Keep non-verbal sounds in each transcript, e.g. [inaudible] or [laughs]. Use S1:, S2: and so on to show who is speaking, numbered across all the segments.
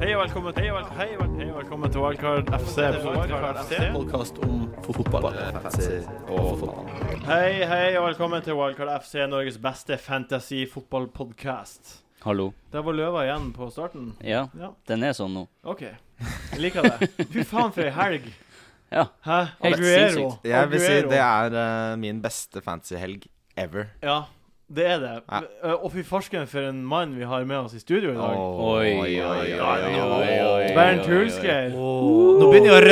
S1: Hei og velkommen til Hei og vel- hei og velkommen til Wildcard FC. Wildcard FC.
S2: podkast om fotball.
S1: Hei, hei og velkommen til Wildcard FC, Norges beste fantasy-fotballpodkast.
S3: Hallo.
S1: Der var løva igjen på starten.
S3: Ja,
S1: Ja,
S3: den er sånn nå.
S1: OK. Jeg liker det. Fy faen, for ei helg.
S3: Ja.
S1: Hæ?
S3: Helt
S1: Aguero.
S3: sinnssykt.
S2: Jeg vil si
S1: Aguero.
S2: det er eh, min beste fantasyhelg ever.
S1: Ja, det er det.
S2: Ja.
S1: Eh, Og fy farsken for en mann vi har med oss i studio i dag.
S3: Oi, oi, oi, oi, oi, oi.
S1: Bernt Hulsker.
S4: Nå begynner jeg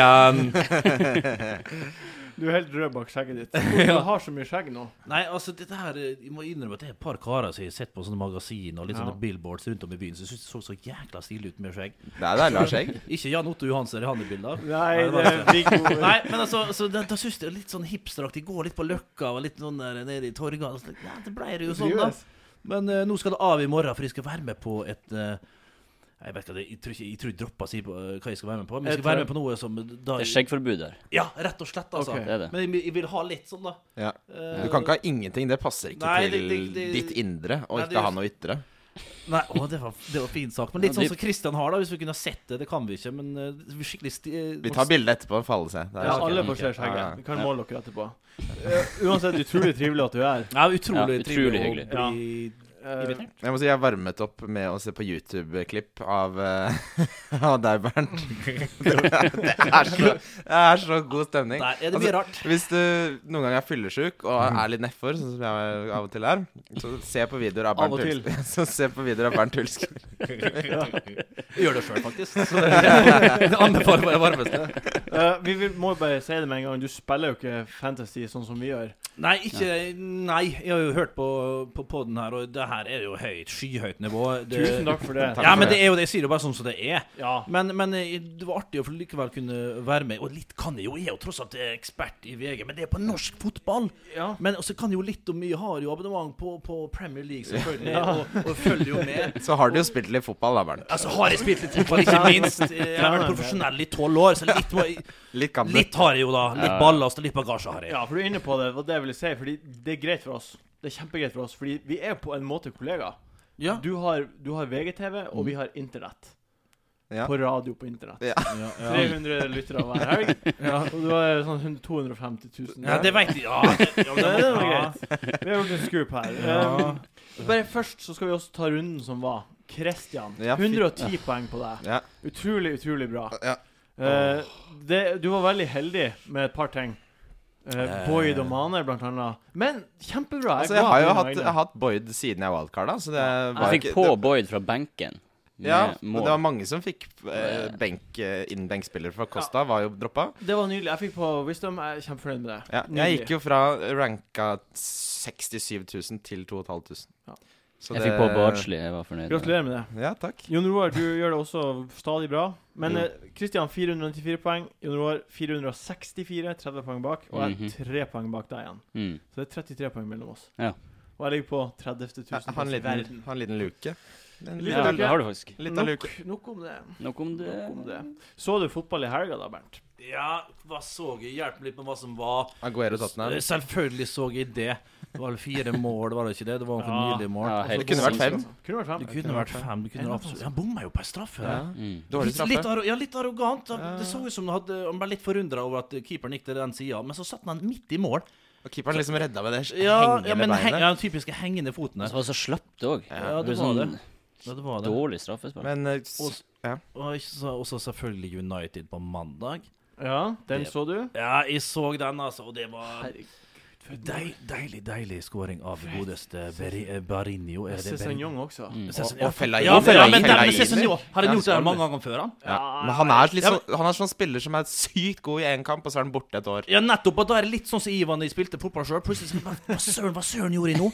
S4: å rødme igjen.
S1: [laughs] Du er helt rød bak skjegget
S2: [laughs]
S1: ditt. Du har så mye skjegg nå.
S4: Nei, altså, dette her eh, Jeg må innrømme at det er et par karer som jeg har sett på sånne magasin og litt
S1: Ja.
S4: sånne billboards rundt om i byen, som synes det så så jækla stilig ut med skjegg.
S2: Det er deilig å
S3: [laughs]
S2: ha skjegg.
S4: Ikke Jan Otto Johansen i hannebilder.
S1: Nei, det
S4: det
S1: er
S4: var
S1: Viggo
S4: Nei, men altså, så da, da synes jeg det er litt sånn hipsteraktig. Går litt på Løkka og litt sånn der nede i torga. og så- Ja, det ble det jo sånn, da. Men eh, nå skal det av i morgen, for jeg skal være med på et eh, jeg vet ikke, jeg tror, ikke, jeg tror jeg dropper å si på, eh, hva jeg skal være med på, men jeg
S1: Jeg
S4: skal være
S1: tror-
S4: med på noe som da,
S3: Det er skjeggforbud her.
S4: Ja, rett og slett, altså.
S1: Ok.
S3: Det er det.
S4: Men jeg, jeg vil ha litt sånn, da.
S2: Ja.
S4: Eh,
S2: Du kan ikke ha ingenting. Det passer ikke
S4: Nei,
S2: til
S4: det- det- det-
S2: ditt indre og
S4: Nei,
S2: ikke
S4: det-
S2: ha noe ytre.
S4: Nei, å, det var, det var fin sak. Men litt
S3: Ja,
S4: sånn
S3: det-
S4: som Kristian har, da. Hvis vi kunne ha sett det. Det kan vi ikke, men eh, skikkelig sti... eh,
S2: Vi tar bilde etterpå og faller seg. Det er
S1: Ja,
S2: så
S1: alle
S2: kult.
S1: får se
S2: Ja, ja.
S1: skjegget. Vi kan måle dere etterpå. Eh, Uansett, utrolig trivelig at du er her.
S4: Ja,
S3: Ja,
S4: utrolig, trivelig
S3: utrolig
S4: å
S3: hyggelig.
S4: bli
S1: Eh,
S4: invitert.
S2: Jeg må si jeg varmet opp med å se på YouTube-klipp av, eh, [laughs] av deg, Bernt. [laughs] Det er, det, er så, det er så god stemning.
S4: Nei, er det mye rart?
S2: Hvis du noen ganger er fyllesyk og er litt nedfor, sånn som jeg av og til er, så se på videoer av
S1: Av
S2: Bernt
S1: og til.
S2: Hulsker. [laughs] Så se på videoer av Bernt Hulsker.
S3: [laughs]
S4: Jeg gjør det sjøl, faktisk. Så [laughs] det, det anbefaler jeg varmeste.
S1: eh, vi vil, må bare si det med en gang, du spiller jo ikke Fantasy sånn som vi gjør.
S4: Nei, ikke Nei. Jeg har jo hørt på, på poden her, og det her er jo høyt. Skyhøyt nivå. Det,
S1: Tusen takk for det.
S2: Takk.
S4: Ja,
S2: for
S4: men
S2: det.
S4: det er jo det. Jeg sier det bare sånn som det er.
S1: Ja.
S4: Men, men eh, det var artig å få likevel kunne være med. Og litt kan jeg jo. Jeg er jo tross alt ekspert i VG, men det er på norsk fotball.
S1: ja.
S4: Men også kan jo litt om mye har jo abonnement på, på Premier League, selvfølgelig, og, og følger jo med.
S2: Så har du jo spilt litt fotball, da, Bernt.
S4: Altså Har jeg spilt litt fotball, ikke minst. Jeg har vært profesjonell i tolv år, så litt, må jeg-
S2: Litt kan du.
S4: litt har jeg jo, da. Litt ballast og litt bagasje har jeg.
S1: ja, for du er inne på det, og det vil jeg si, fordi det er greit for oss. Det er kjempegreit for oss, fordi vi er på en måte kollegaer.
S4: Ja.
S1: Du har, du har VGTV, og vi har Internett.
S2: Ja.
S1: På radio på Internett.
S2: Ja.
S1: [laughs] 300 lyttere hver helg, og du har sånn 250 000.
S4: Ja, det veit jeg. Ja, det, ja,
S1: Ja, det er noe
S4: ja.
S1: greit. Vi har gjort en scoop her.
S4: Ja.
S1: Um, bare først så skal vi også ta runden som var. Christian,
S2: Ja, fy-
S1: 110 poeng på deg.
S2: Ja.
S1: Utrolig, utrolig bra.
S2: Ja.
S1: Eh, det, du var veldig heldig med et par ting. Eh, Boyd og Mane, blant annet. Men kjempebra.
S2: Altså,
S1: er
S2: jeg
S1: glad
S2: har jo
S1: på dine
S2: hatt, jeg
S1: vegne.
S2: har hatt Boyd siden jeg wildcarda, så det var
S3: Jeg fikk
S2: ikke-
S3: på
S2: det,
S3: Boyd fra benken. med
S2: ja, men
S3: mål.
S2: det var mange som fikk eh, benk, eh, innbenkspiller fra Costa, var jo droppa.
S1: Det var nydelig. Jeg fikk på Wisdom. Jeg er kjempefornøyd med det.
S2: Ja, jeg
S1: Nydelig.
S2: gikk jo fra ranka 67 000 til 2500.
S1: Ja.
S2: Så
S3: Jeg
S2: det-
S3: fikk på Bardsli, jeg var fornøyd. med det.
S1: Gratulerer med det.
S2: Ja, takk.
S1: Jon Roar, du gjør det også stadig bra. Men
S3: Jo.
S2: Mm.
S1: eh, Christian 494 poeng, Jon Roar 464, 30 poeng bak. Og jeg
S3: Mhm.
S1: er 3 poeng bak deg igjen.
S3: Mm.
S1: Så det er 33 poeng mellom oss.
S3: Ja.
S1: Og jeg ligger på 30 000
S2: Ja,
S1: plass
S2: ha en
S1: i
S2: liten,
S1: verden.
S2: ha en liten luke. En
S1: Liten
S3: Ja,
S2: liten,
S3: det har du faktisk.
S2: liten
S1: Nok,
S2: luke.
S1: nok om det.
S3: Nok om det.
S1: Nok om det. Så du fotball i helga da, Bernt?
S4: Ja, hva så jeg? Hjelp meg litt med hva som var.
S2: Aguero Tottenham.
S4: Selvfølgelig så jeg det. Det var vel fire mål, var det ikke det? Det var noen
S1: Ja.
S4: nydelige mål.
S3: Ja, helt
S2: Det kunne vært
S1: Kunne
S2: fem.
S1: vært
S4: Det
S1: fem.
S4: kunne vært fem. Du kunne
S1: En av
S4: absolutt Han bomma jo på en straffe. der.
S2: Ja.
S3: Mm.
S2: Dårlig
S4: Litt, litt,
S2: straffe.
S4: arro- ja, litt arrogant. Han,
S2: Ja.
S4: Det så ut som han, hadde, han ble litt forundra over at keeperen gikk til den sida, men så satt han midt i mål.
S2: Og keeperen liksom redda med det
S4: Ja,
S2: hengende
S4: ja men heng,
S2: beinet. Altså,
S4: ja, den typiske hengende
S3: Og
S4: foten der.
S3: så var det så slapt òg.
S4: Ja, det var det. Ja, det var det.
S3: sånn Dårlig straffespark.
S2: Men eh, s-
S4: Og, og ikke så- også selvfølgelig United på mandag.
S1: Ja, den
S4: Det-
S1: så du?
S4: Ja, jeg så den, altså, og det var
S1: Herregud.
S4: deil, Deilig, deilig scoring av godeste Beri, eh, Barinho. Er det Barinho?
S1: Sesonjong også.
S3: Mm.
S4: Cezanne-
S2: Og- og Fellaini.
S4: Ja, Fellaini. men der- men
S2: Fellaini.
S4: Cezanne har
S2: Ja,
S4: han gjort det
S2: stemmer.
S4: her mange ganger før, han?
S2: ja. Men han er, litt
S4: Ja,
S2: sånn, han er sånn spiller som er sykt god i én kamp, og så er han borte et år.
S4: Ja, nettopp. Og da er det litt sånn som Ivan jeg spilte fotball sjøl. Plutselig skal man, Hva søren hva søren gjorde jeg nå?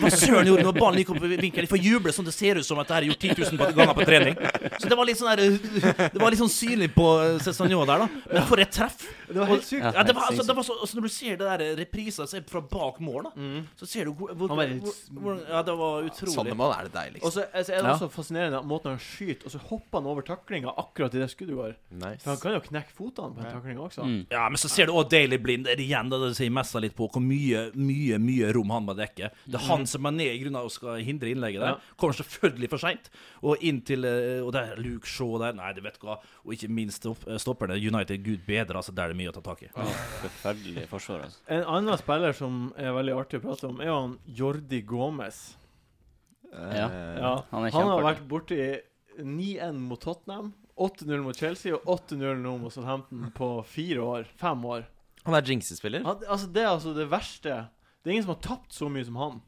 S4: Hva søren gjorde jeg når ballen gikk opp i vinkelen? Jeg får juble sånn det ser ut som at det her er gjort 10 000 på- ganger på trening. Så det var litt sånn der, Det var litt sånn synlig på Cézanne der, da. Men for et treff!
S1: Det var helt sykt.
S4: Ja, det var, altså, det var så, altså, når du altså, ser det der reprisa se fra bak mål, da. Så ser du hvor, hvor,
S1: Mm. Han var helt
S4: hvor, hvor Ja, det var utrolig.
S2: Sånne mål er det
S1: Og
S2: deiligste.
S1: så altså, er det
S3: Ja.
S1: også fascinerende at måten han skyter, og så hopper han over taklinga akkurat i det skuddet går. For
S2: Nice.
S1: han kan jo knekke fotene på den taklinga også.
S3: Mm.
S4: Ja, men så ser du også Daily Blind det er igjen, da, det sier messa litt på hvor mye, mye mye rom han må dekke. Det er han som er ned i grunnen og skal hindre innlegget der.
S1: Ja.
S4: Kommer selvfølgelig for seint. Og inn til eh, Og der er Luke Shaw der. Nei, du vet hva. Og ikke minst stopp, eh, stopperne. United, gud bedre, altså. Der er det mye å ta tak i.
S3: Forferdelig forsvar, altså.
S1: En annen spiller som er veldig artig å prate om, er jo han Jordi Gomez.
S3: Ja.
S2: Eh,
S1: Ja.
S3: han er
S1: Han har vært
S3: kjempeartig.
S1: borti 9-1 mot Tottenham, 8-0 mot Chelsea og 8-0 nå mot Southampton på fire år. Fem år.
S2: Han er jinxespiller.
S1: Han, altså, det er altså det verste. Det er ingen som har tapt så mye som
S2: [laughs]
S1: han.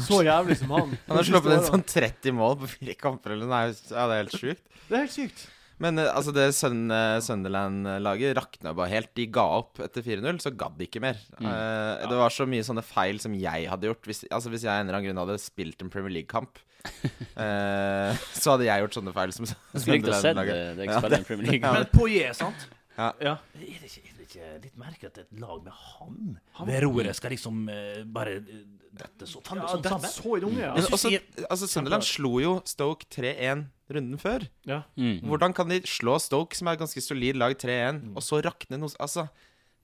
S1: Så jævlig som han.
S2: Han har sluppet inn sånn 30 mål på fire kamper. Eller nei, ja, det er helt sjukt.
S1: Det er helt sykt.
S2: Men eh, altså, det Sun eh, Sunderland-laget rakna bare helt. De ga opp etter 4-0, så gadd de ikke mer. Eh, Det var så mye sånne feil som jeg hadde gjort. Hvis, altså, hvis jeg av en eller annen grunn hadde spilt en Premier League-kamp, eh, så hadde jeg gjort sånne feil som
S3: Skulle likt å se det, eh, det
S2: Ja,
S3: spillet i Premier League.
S4: Men Poirier, sant?
S1: Ja.
S4: Er det, ikke, er det ikke litt merkelig at et lag med han, ved roret skal liksom eh, bare eh, dette så, faen, det
S1: ja
S4: sånn
S1: det er
S4: sammen?
S1: så unge, ja.
S2: Men
S4: Jeg synes
S2: også,
S4: de-
S2: altså, Sunderland slo jo Stoke 3-1 runden før.
S1: ja.
S3: Mm.
S2: Hvordan kan de slå Stoke, som er et ganske solid lag, 3-1, og så rakne noe Altså,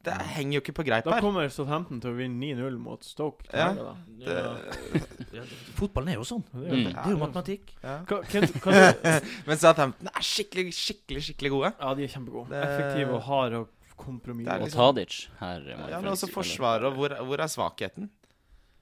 S2: det henger jo ikke på greip
S1: Da
S2: her.
S1: kommer Southampton til å vinne 9-0 mot Stoke. til
S2: Ja.
S1: helga, da.
S4: Ja, fotballen er jo sånn.
S1: Det er jo-
S3: Mm.
S4: Det er jo matematikk.
S1: Hva- hva- hva-
S2: Men Southampton er skikkelig, skikkelig, skikkelig gode.
S1: [laughs] Ja, de er kjempegode.
S2: Det-
S1: Effektive og harde og kompromiss.
S2: Det er
S3: Og
S2: liksom-
S3: Tadic her. må jeg
S2: Ja, men altså,
S3: vel
S2: også
S3: si.
S2: forsvaret, og hvor, hvor er svakheten?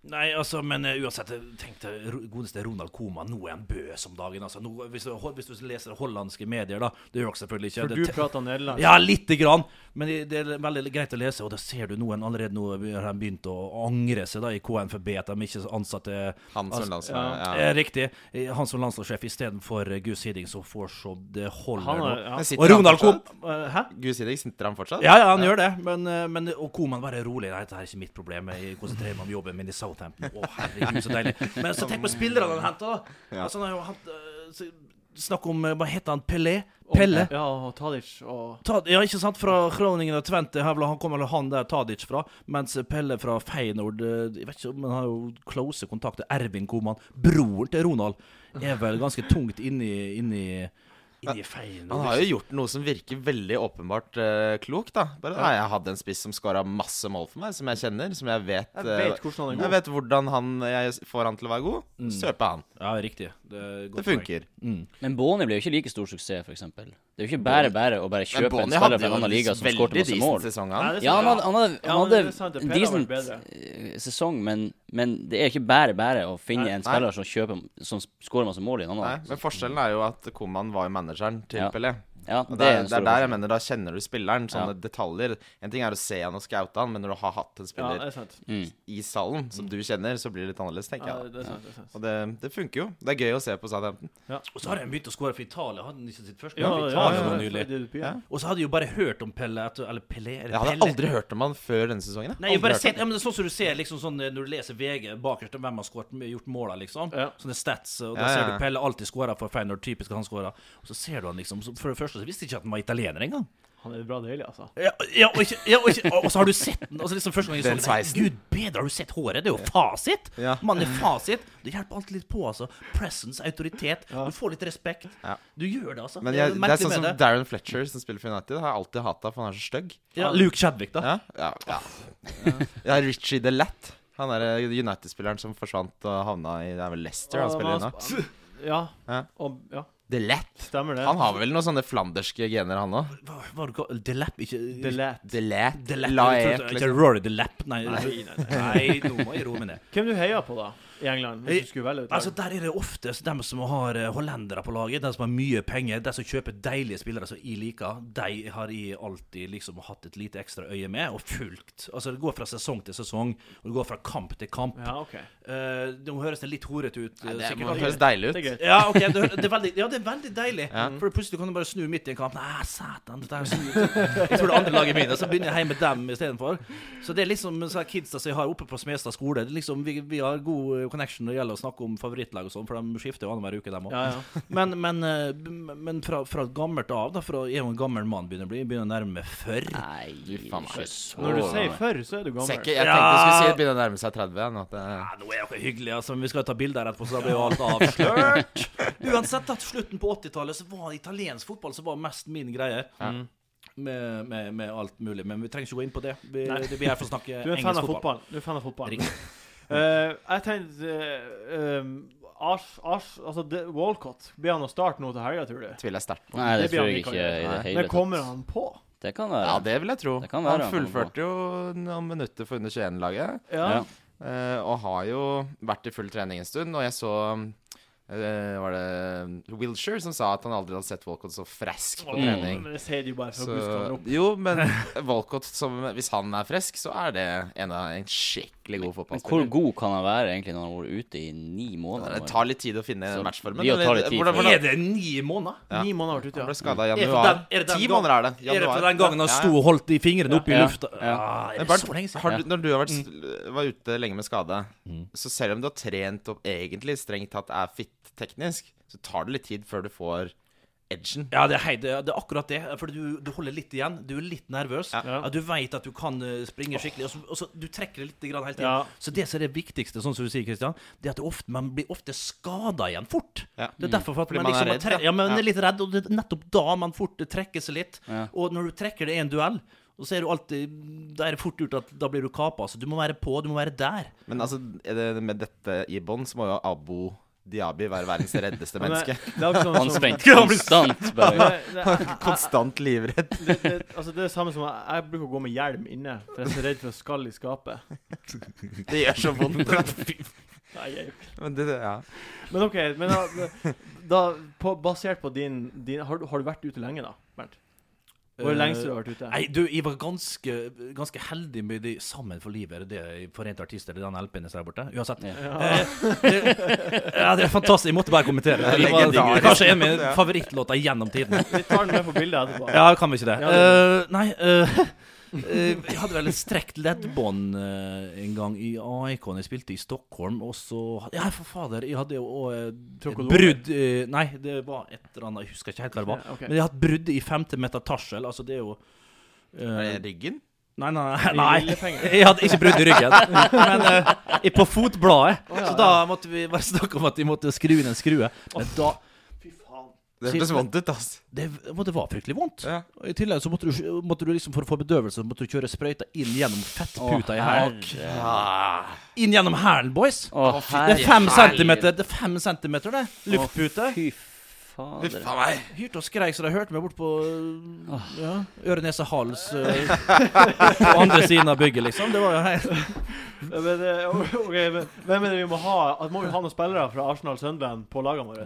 S4: Nei, altså, men eh, uansett, tenk deg Ro- godeste Ronald Koeman. Nå er han bøs om dagen. Altså. Nå, hvis, du, hvis du leser hollandske medier, da Det gjør dere selvfølgelig ikke.
S1: For
S4: Det
S1: du
S4: te-
S1: prater nederlandsk.
S4: ja, lite grann, men det- det er veldig greit å lese. Og da ser du noen allerede nå har de begynt å angre seg da i KNFB at de ikke ansatte
S2: Han som
S4: Altså,
S2: landslag
S1: ja.
S2: ja.
S4: eh, Riktig. eh, Han som landslagssjef istedenfor eh, Gus Hidding, som får så det
S1: Han
S4: holder
S1: er,
S4: nå.
S1: ja.
S2: Men sitter
S4: Og
S2: han
S4: Ronald Koeman
S2: fortsatt?
S4: Hæ?
S2: Gud sier det, sitter han fortsatt?
S4: Ja, ja, han gjør det. Men, eh, men og Koman bare rolig. Nei, dette er ikke mitt problem. Jeg konsentrerer meg om jobben min i Southampton. Å, herregud, så deilig. Men så tenk på spillerne han henta, da.
S2: Ja.
S4: Altså, han har jo hent, eh, så- Snakk om eh, Hva heter han? Pelé?
S2: eh,
S1: Og-
S4: Pelle?
S1: Ja, og Tadic og
S4: Ta, ja, ikke sant? Fra Groningen og Twente. Her, vel, han kommer vel han der Tadic fra. Mens Pelle fra Feyenoord eh, Jeg vet ikke, men han har jo close kontakter. Ervin Koman, broren til Ronald, er vel ganske tungt inni, inni, inni Feyenoord.
S2: Han har jo gjort noe som virker veldig åpenbart eh, klokt, da. Bare, nei, jeg hadde en spiss som scora masse mål for meg, som jeg kjenner, som jeg vet
S1: Jeg
S2: eh,
S1: vet hvordan han er
S2: Jeg
S1: god.
S2: vet hvordan han, jeg får han til å være god. Søpe han.
S4: Ja, riktig. Det, er godt
S2: Det funker.
S3: Men Boni blir jo ikke like stor suksess, for eksempel Det er jo ikke bare bare å bare
S2: Men
S3: kjøpe en
S2: Bonnie
S3: spiller
S2: hadde
S3: fra en
S2: jo
S3: annen
S2: en
S3: liga som skårte
S2: veldig
S3: masse mål.
S2: decent sesong, han.
S1: det
S3: Ja, han hadde, han hadde,
S1: Ja,
S3: han
S1: men det er
S3: hadde
S1: sant, det
S3: en
S1: Pelle har vært
S3: decent eh, sesong, men, men det er ikke bare bare å finne
S1: Nei,
S3: en spiller som kjøper Som skårer masse mål i en
S2: Nei,
S3: annen.
S2: men forskjellen er jo at Koman var jo manageren til
S3: Ja.
S2: Pelé.
S3: Ja, det,
S2: Og det,
S3: er en stor
S2: det er der
S3: forskjell.
S2: jeg mener, da kjenner du spilleren. Sånne
S3: Ja.
S2: detaljer. En ting er å se han og scoute han, men når du har hatt en
S1: Ja, eh,
S2: spiller
S1: det er sant.
S3: Mm.
S2: i salen som du kjenner, så blir det litt annerledes, tenker
S1: Ja,
S2: jeg. da.
S1: det er sant, det er sant.
S2: Og det, det funker jo. Det er gøy å se på Southampton.
S4: Og så har han begynt å skåre for Italia. Hadde han ikke sitt første
S1: Ja,
S4: mål
S1: ja,
S4: for Italia
S1: ja,
S4: nå
S1: ja,
S4: nylig?
S1: det du sier.
S2: Ja.
S4: Og så hadde jeg jo bare hørt om Pelle etter, Eller Pelé? Er det
S2: Jeg hadde
S4: Pelle?
S2: aldri hørt om han før denne sesongen. jeg.
S4: Nei, jeg
S2: Aldri
S4: bare
S2: hørt
S4: ser,
S2: om
S4: ja, men det er sånn som du ser liksom sånn eh, når du leser VG bakerst om hvem har skåret, gjort måla, liksom.
S1: Ja.
S4: Sånne stats. Og da
S2: Ja, ja.
S4: ser du Pelle alltid skåra for Feyenoord, typisk at han skåra. Og så ser du han liksom så For det første så visste jeg ikke at han var italiener engang.
S1: Han er bra deilig, altså.
S4: Ja, ja, og, ikke, ja, og, ikke, og så har du sett den. Altså liksom første gang jeg
S2: Den
S4: så den
S2: sveisen.
S4: Gud bedre, har du sett håret? Det er jo fasit!
S2: Ja.
S4: Mann det er fasit. Det hjelper alltid litt på, altså. Presence, autoritet. Du får litt respekt.
S2: Ja.
S4: Du gjør det, altså.
S2: Men jeg, det
S4: noe
S2: er
S4: merkelig
S2: sånn
S4: med
S2: som Darren Fletcher, som spiller for United, har jeg alltid hata, for han er så stygg.
S4: Ja, Luke Chadwick, da.
S2: Ja, ja, ja. ja Richie Delette. Han er eh, United-spilleren som forsvant og havna i Det er vel Leicester han
S1: Og
S2: spiller i nå.
S1: man sp- Ja.
S2: Ja.
S1: Og, ja.
S2: Delette.
S1: Stemmer det.
S2: Han har vel noen sånne flanderske gener, han òg.
S4: Hva var det kall- Delap, ikke
S1: Delete.
S2: Delette.
S4: Delap,
S2: La
S4: jeg
S2: et,
S4: trodde-
S2: liksom.
S4: Ikke Rory Delap, nei. Nei, nei, nei. nå må jeg roe meg ned.
S1: Hvem du heier på, da? I England? Hvis du skulle velge ut
S4: Altså, Der er det oftest dem som har eh, hollendere på laget, de som har mye penger, de som kjøper deilige spillere som jeg liker. De har jeg alltid liksom hatt et lite ekstra øye med, og fulgt. Altså, Det går fra sesong til sesong, og det går fra kamp til kamp.
S1: Ja, OK.
S4: Eh, nå høres det litt horete ut. eh,
S2: Det må
S4: sikkert.
S2: høres deilig
S1: Det er
S2: ut.
S1: greit.
S4: Ja, ok, det, det er veldig, ja, det er veldig deilig.
S2: Ja.
S4: For plutselig kan du bare snu midt i en kamp. Nei, satan, dette er så Jeg tror det andre laget mitt, og så begynner jeg hjemme med dem istedenfor. Så det er liksom så her kidsa som jeg har oppe på Smestad skole. Det er liksom, vi, vi har god jo connection når det gjelder å snakke om favorittlag og sånn, for de skifter jo annenhver uke, dem òg.
S1: Ja, ja.
S4: Men, men, eh, b- men fra, fra et gammelt av, da, for jeg er jo en gammel mann begynner å bli, begynner å nærme meg 40.
S3: Nei,
S2: Du faen meg.
S3: ikke så
S1: Når du sier
S3: gammel.
S1: før, så er du gammel.
S2: Sekke, jeg tenkte jeg skulle si begynne å nærme seg 30 igjen. At det,
S4: Ja, nå er dere hyggelige, altså, men vi skal jo ta bilder her etterpå, så da blir jo alt [laughs] avslørt. Uansett, at slutten på 80-tallet så var det italiensk fotball som var mest min greie. Mm. Med, med, med alt mulig, men vi trenger ikke gå inn på det. Vi,
S1: Nei.
S4: det blir her for å snakke
S1: Du er en fan
S4: engelsk
S1: av
S4: fotball.
S1: fotball. Du er fan av fotball.
S4: Riktig.
S1: [laughs] Eh, jeg tenkte eh, um, Ars, Ars, altså det- Walcott Blir han å starte nå til helga, tror du?
S2: tviler jeg sterkt på.
S3: Nei, det
S1: Det blir
S3: tror
S1: han
S3: jeg
S1: ikke
S3: ikke i det
S2: Nei.
S3: hele
S1: Men kommer
S3: tatt.
S1: han på?
S3: Det kan være.
S2: Ja, det vil jeg tro.
S3: Det kan være
S2: Han
S3: han kommer på.
S2: fullførte jo noen minutter for under 21-laget.
S3: Ja.
S2: Eh, og har jo vært i full trening en stund. Og jeg så eh, Var det Wilshere som sa at han aldri hadde sett Walcott så fresk på
S1: Åh,
S2: trening?
S1: men Det sier de jo bare for å
S2: Så,
S1: buske han opp.
S2: eh, jo, men [laughs] Walcott, som, hvis han er frisk, så er det en, av, en skikkelig
S3: Men
S2: god
S3: hvor
S2: fotballspiller.
S3: god kan han være egentlig når han har vært ute i ni måneder?
S2: Det tar litt tid å finne
S3: Så
S2: matchformen.
S3: det å ta
S2: eller-
S3: litt tid
S2: hvordan-
S3: for-
S2: hvordan-
S4: Er det ni måneder?
S2: Ja.
S1: Ni måneder har vært ute,
S2: Han
S1: ja.
S2: ble skada i
S4: det
S2: januar.
S4: den- er det den
S2: Ti
S4: gang-
S2: måneder er det.
S4: Er det
S2: Januar.
S4: fra den gangen han
S2: Ja, ja.
S4: sto og holdt de fingrene opp i
S3: Ja,
S4: lufta?
S3: ja.
S4: Ah, er
S2: Men
S4: det
S2: Bernt,
S4: så lenge siden? Mm.
S2: har du, når du har vært, var ute lenge med skade, så selv om du har trent og egentlig strengt tatt er fit teknisk, så tar det litt tid før du får edgen.
S4: Ja, det er, hei, det, er- det er akkurat det. For du, du holder litt igjen. Du er litt nervøs.
S1: Ja.
S4: Ja, du veit at du kan eh, springe skikkelig. Og så, og så du trekker det litt grann hele tiden.
S1: Ja.
S4: Så det som er det viktigste, sånn som du sier, Kristian, det er at det ofte, man blir ofte skada igjen fort.
S2: Ja.
S4: Det er derfor for at
S2: Fordi
S4: man,
S2: man er
S4: liksom,
S2: redd,
S4: tre-
S2: da.
S4: ja, man
S2: Ja.
S4: er litt redd, og det er nettopp da man fort trekker seg litt.
S3: Ja.
S4: Og når du trekker det i en duell, og så er du alltid Da er det fort gjort at da blir du kapa. Så du må være på, du må være der.
S2: Men altså, er det, med dette i bånn, så må jo Abu Diabi være verdens reddeste
S1: Men det,
S2: menneske.
S1: det er også
S3: Han
S1: sånn som
S3: spent
S1: [laughs]
S3: konstant,
S2: [laughs]
S3: bare.
S1: det, det,
S2: Konstant livredd.
S1: det, det, altså det er det samme som jeg, jeg bruker å gå med hjelm inne, for jeg er så redd for skall i skapet.
S2: Det gjør så vondt.
S1: Nei, jeg-
S2: Men det, ja.
S1: Men OK, men da, da på, basert på din, din har, du- har du vært ute lenge, da, Bernt? Hvor
S4: Eh,
S1: lenge har du vært ute?
S4: Nei, du, jeg var ganske, ganske heldig med de Sammen for livet, er det det Forente artister, eller den LP-en jeg ser der borte? Uansett.
S3: Ja.
S4: Eh,
S1: [laughs]
S4: det, ja, det er fantastisk. Jeg måtte bare kommentere det. Det var
S2: Legendarisk.
S4: kanskje en av mine favorittlåter gjennom tiden.
S1: Vi tar den med på bildet etterpå.
S4: Ja, kan vi ikke det?
S1: Ja, det-
S4: Eh, nei eh, [laughs] eh, Jeg hadde vel et strekt leddbånd eh, en gang i AIK når jeg spilte i Stockholm, og så Ja, for fader, jeg hadde jo også eh, et
S1: Krokodille?
S4: brudd eh, Nei, det var et eller annet, jeg husker ikke helt hva det var.
S1: Ja, ok.
S4: Men jeg har hatt brudd i femte metatarsel, altså det er jo eh,
S2: Er det Ryggen?
S4: Nei, nei,
S1: I
S4: nei. [laughs]
S1: lillepenger.
S4: Jeg hadde ikke brudd
S1: [laughs]
S4: i ryggen, men eh, i- på fotbladet. Så da måtte vi bare snakke om at vi måtte skru inn en skrue. Men da
S1: Fy faen.
S2: Det hørtes vondt ut, ass.
S4: det, og det var fryktelig vondt.
S2: Ja.
S4: Og I tillegg så måtte du, måtte du liksom for å få bedøvelse Så måtte du kjøre sprøyta inn gjennom fettputa i hælen. Inn gjennom hælen, boys!
S3: Å,
S4: Det er fem
S3: herre-
S4: centimeter, det er fem centimeter, det. Luftpute.
S3: Fy
S2: Huff
S3: fader.
S2: a meg.
S4: Hyrte og skreik så de hørte meg bort på ja, øre, nese,
S1: [laughs]
S4: hals øh, På andre siden av bygget, liksom. Det var jo helt
S1: Ja, Men, eh, [laughs] ok, men hvem er det vi må ha? At må vi ha noen spillere fra Arsenal Sunderland på lagene våre?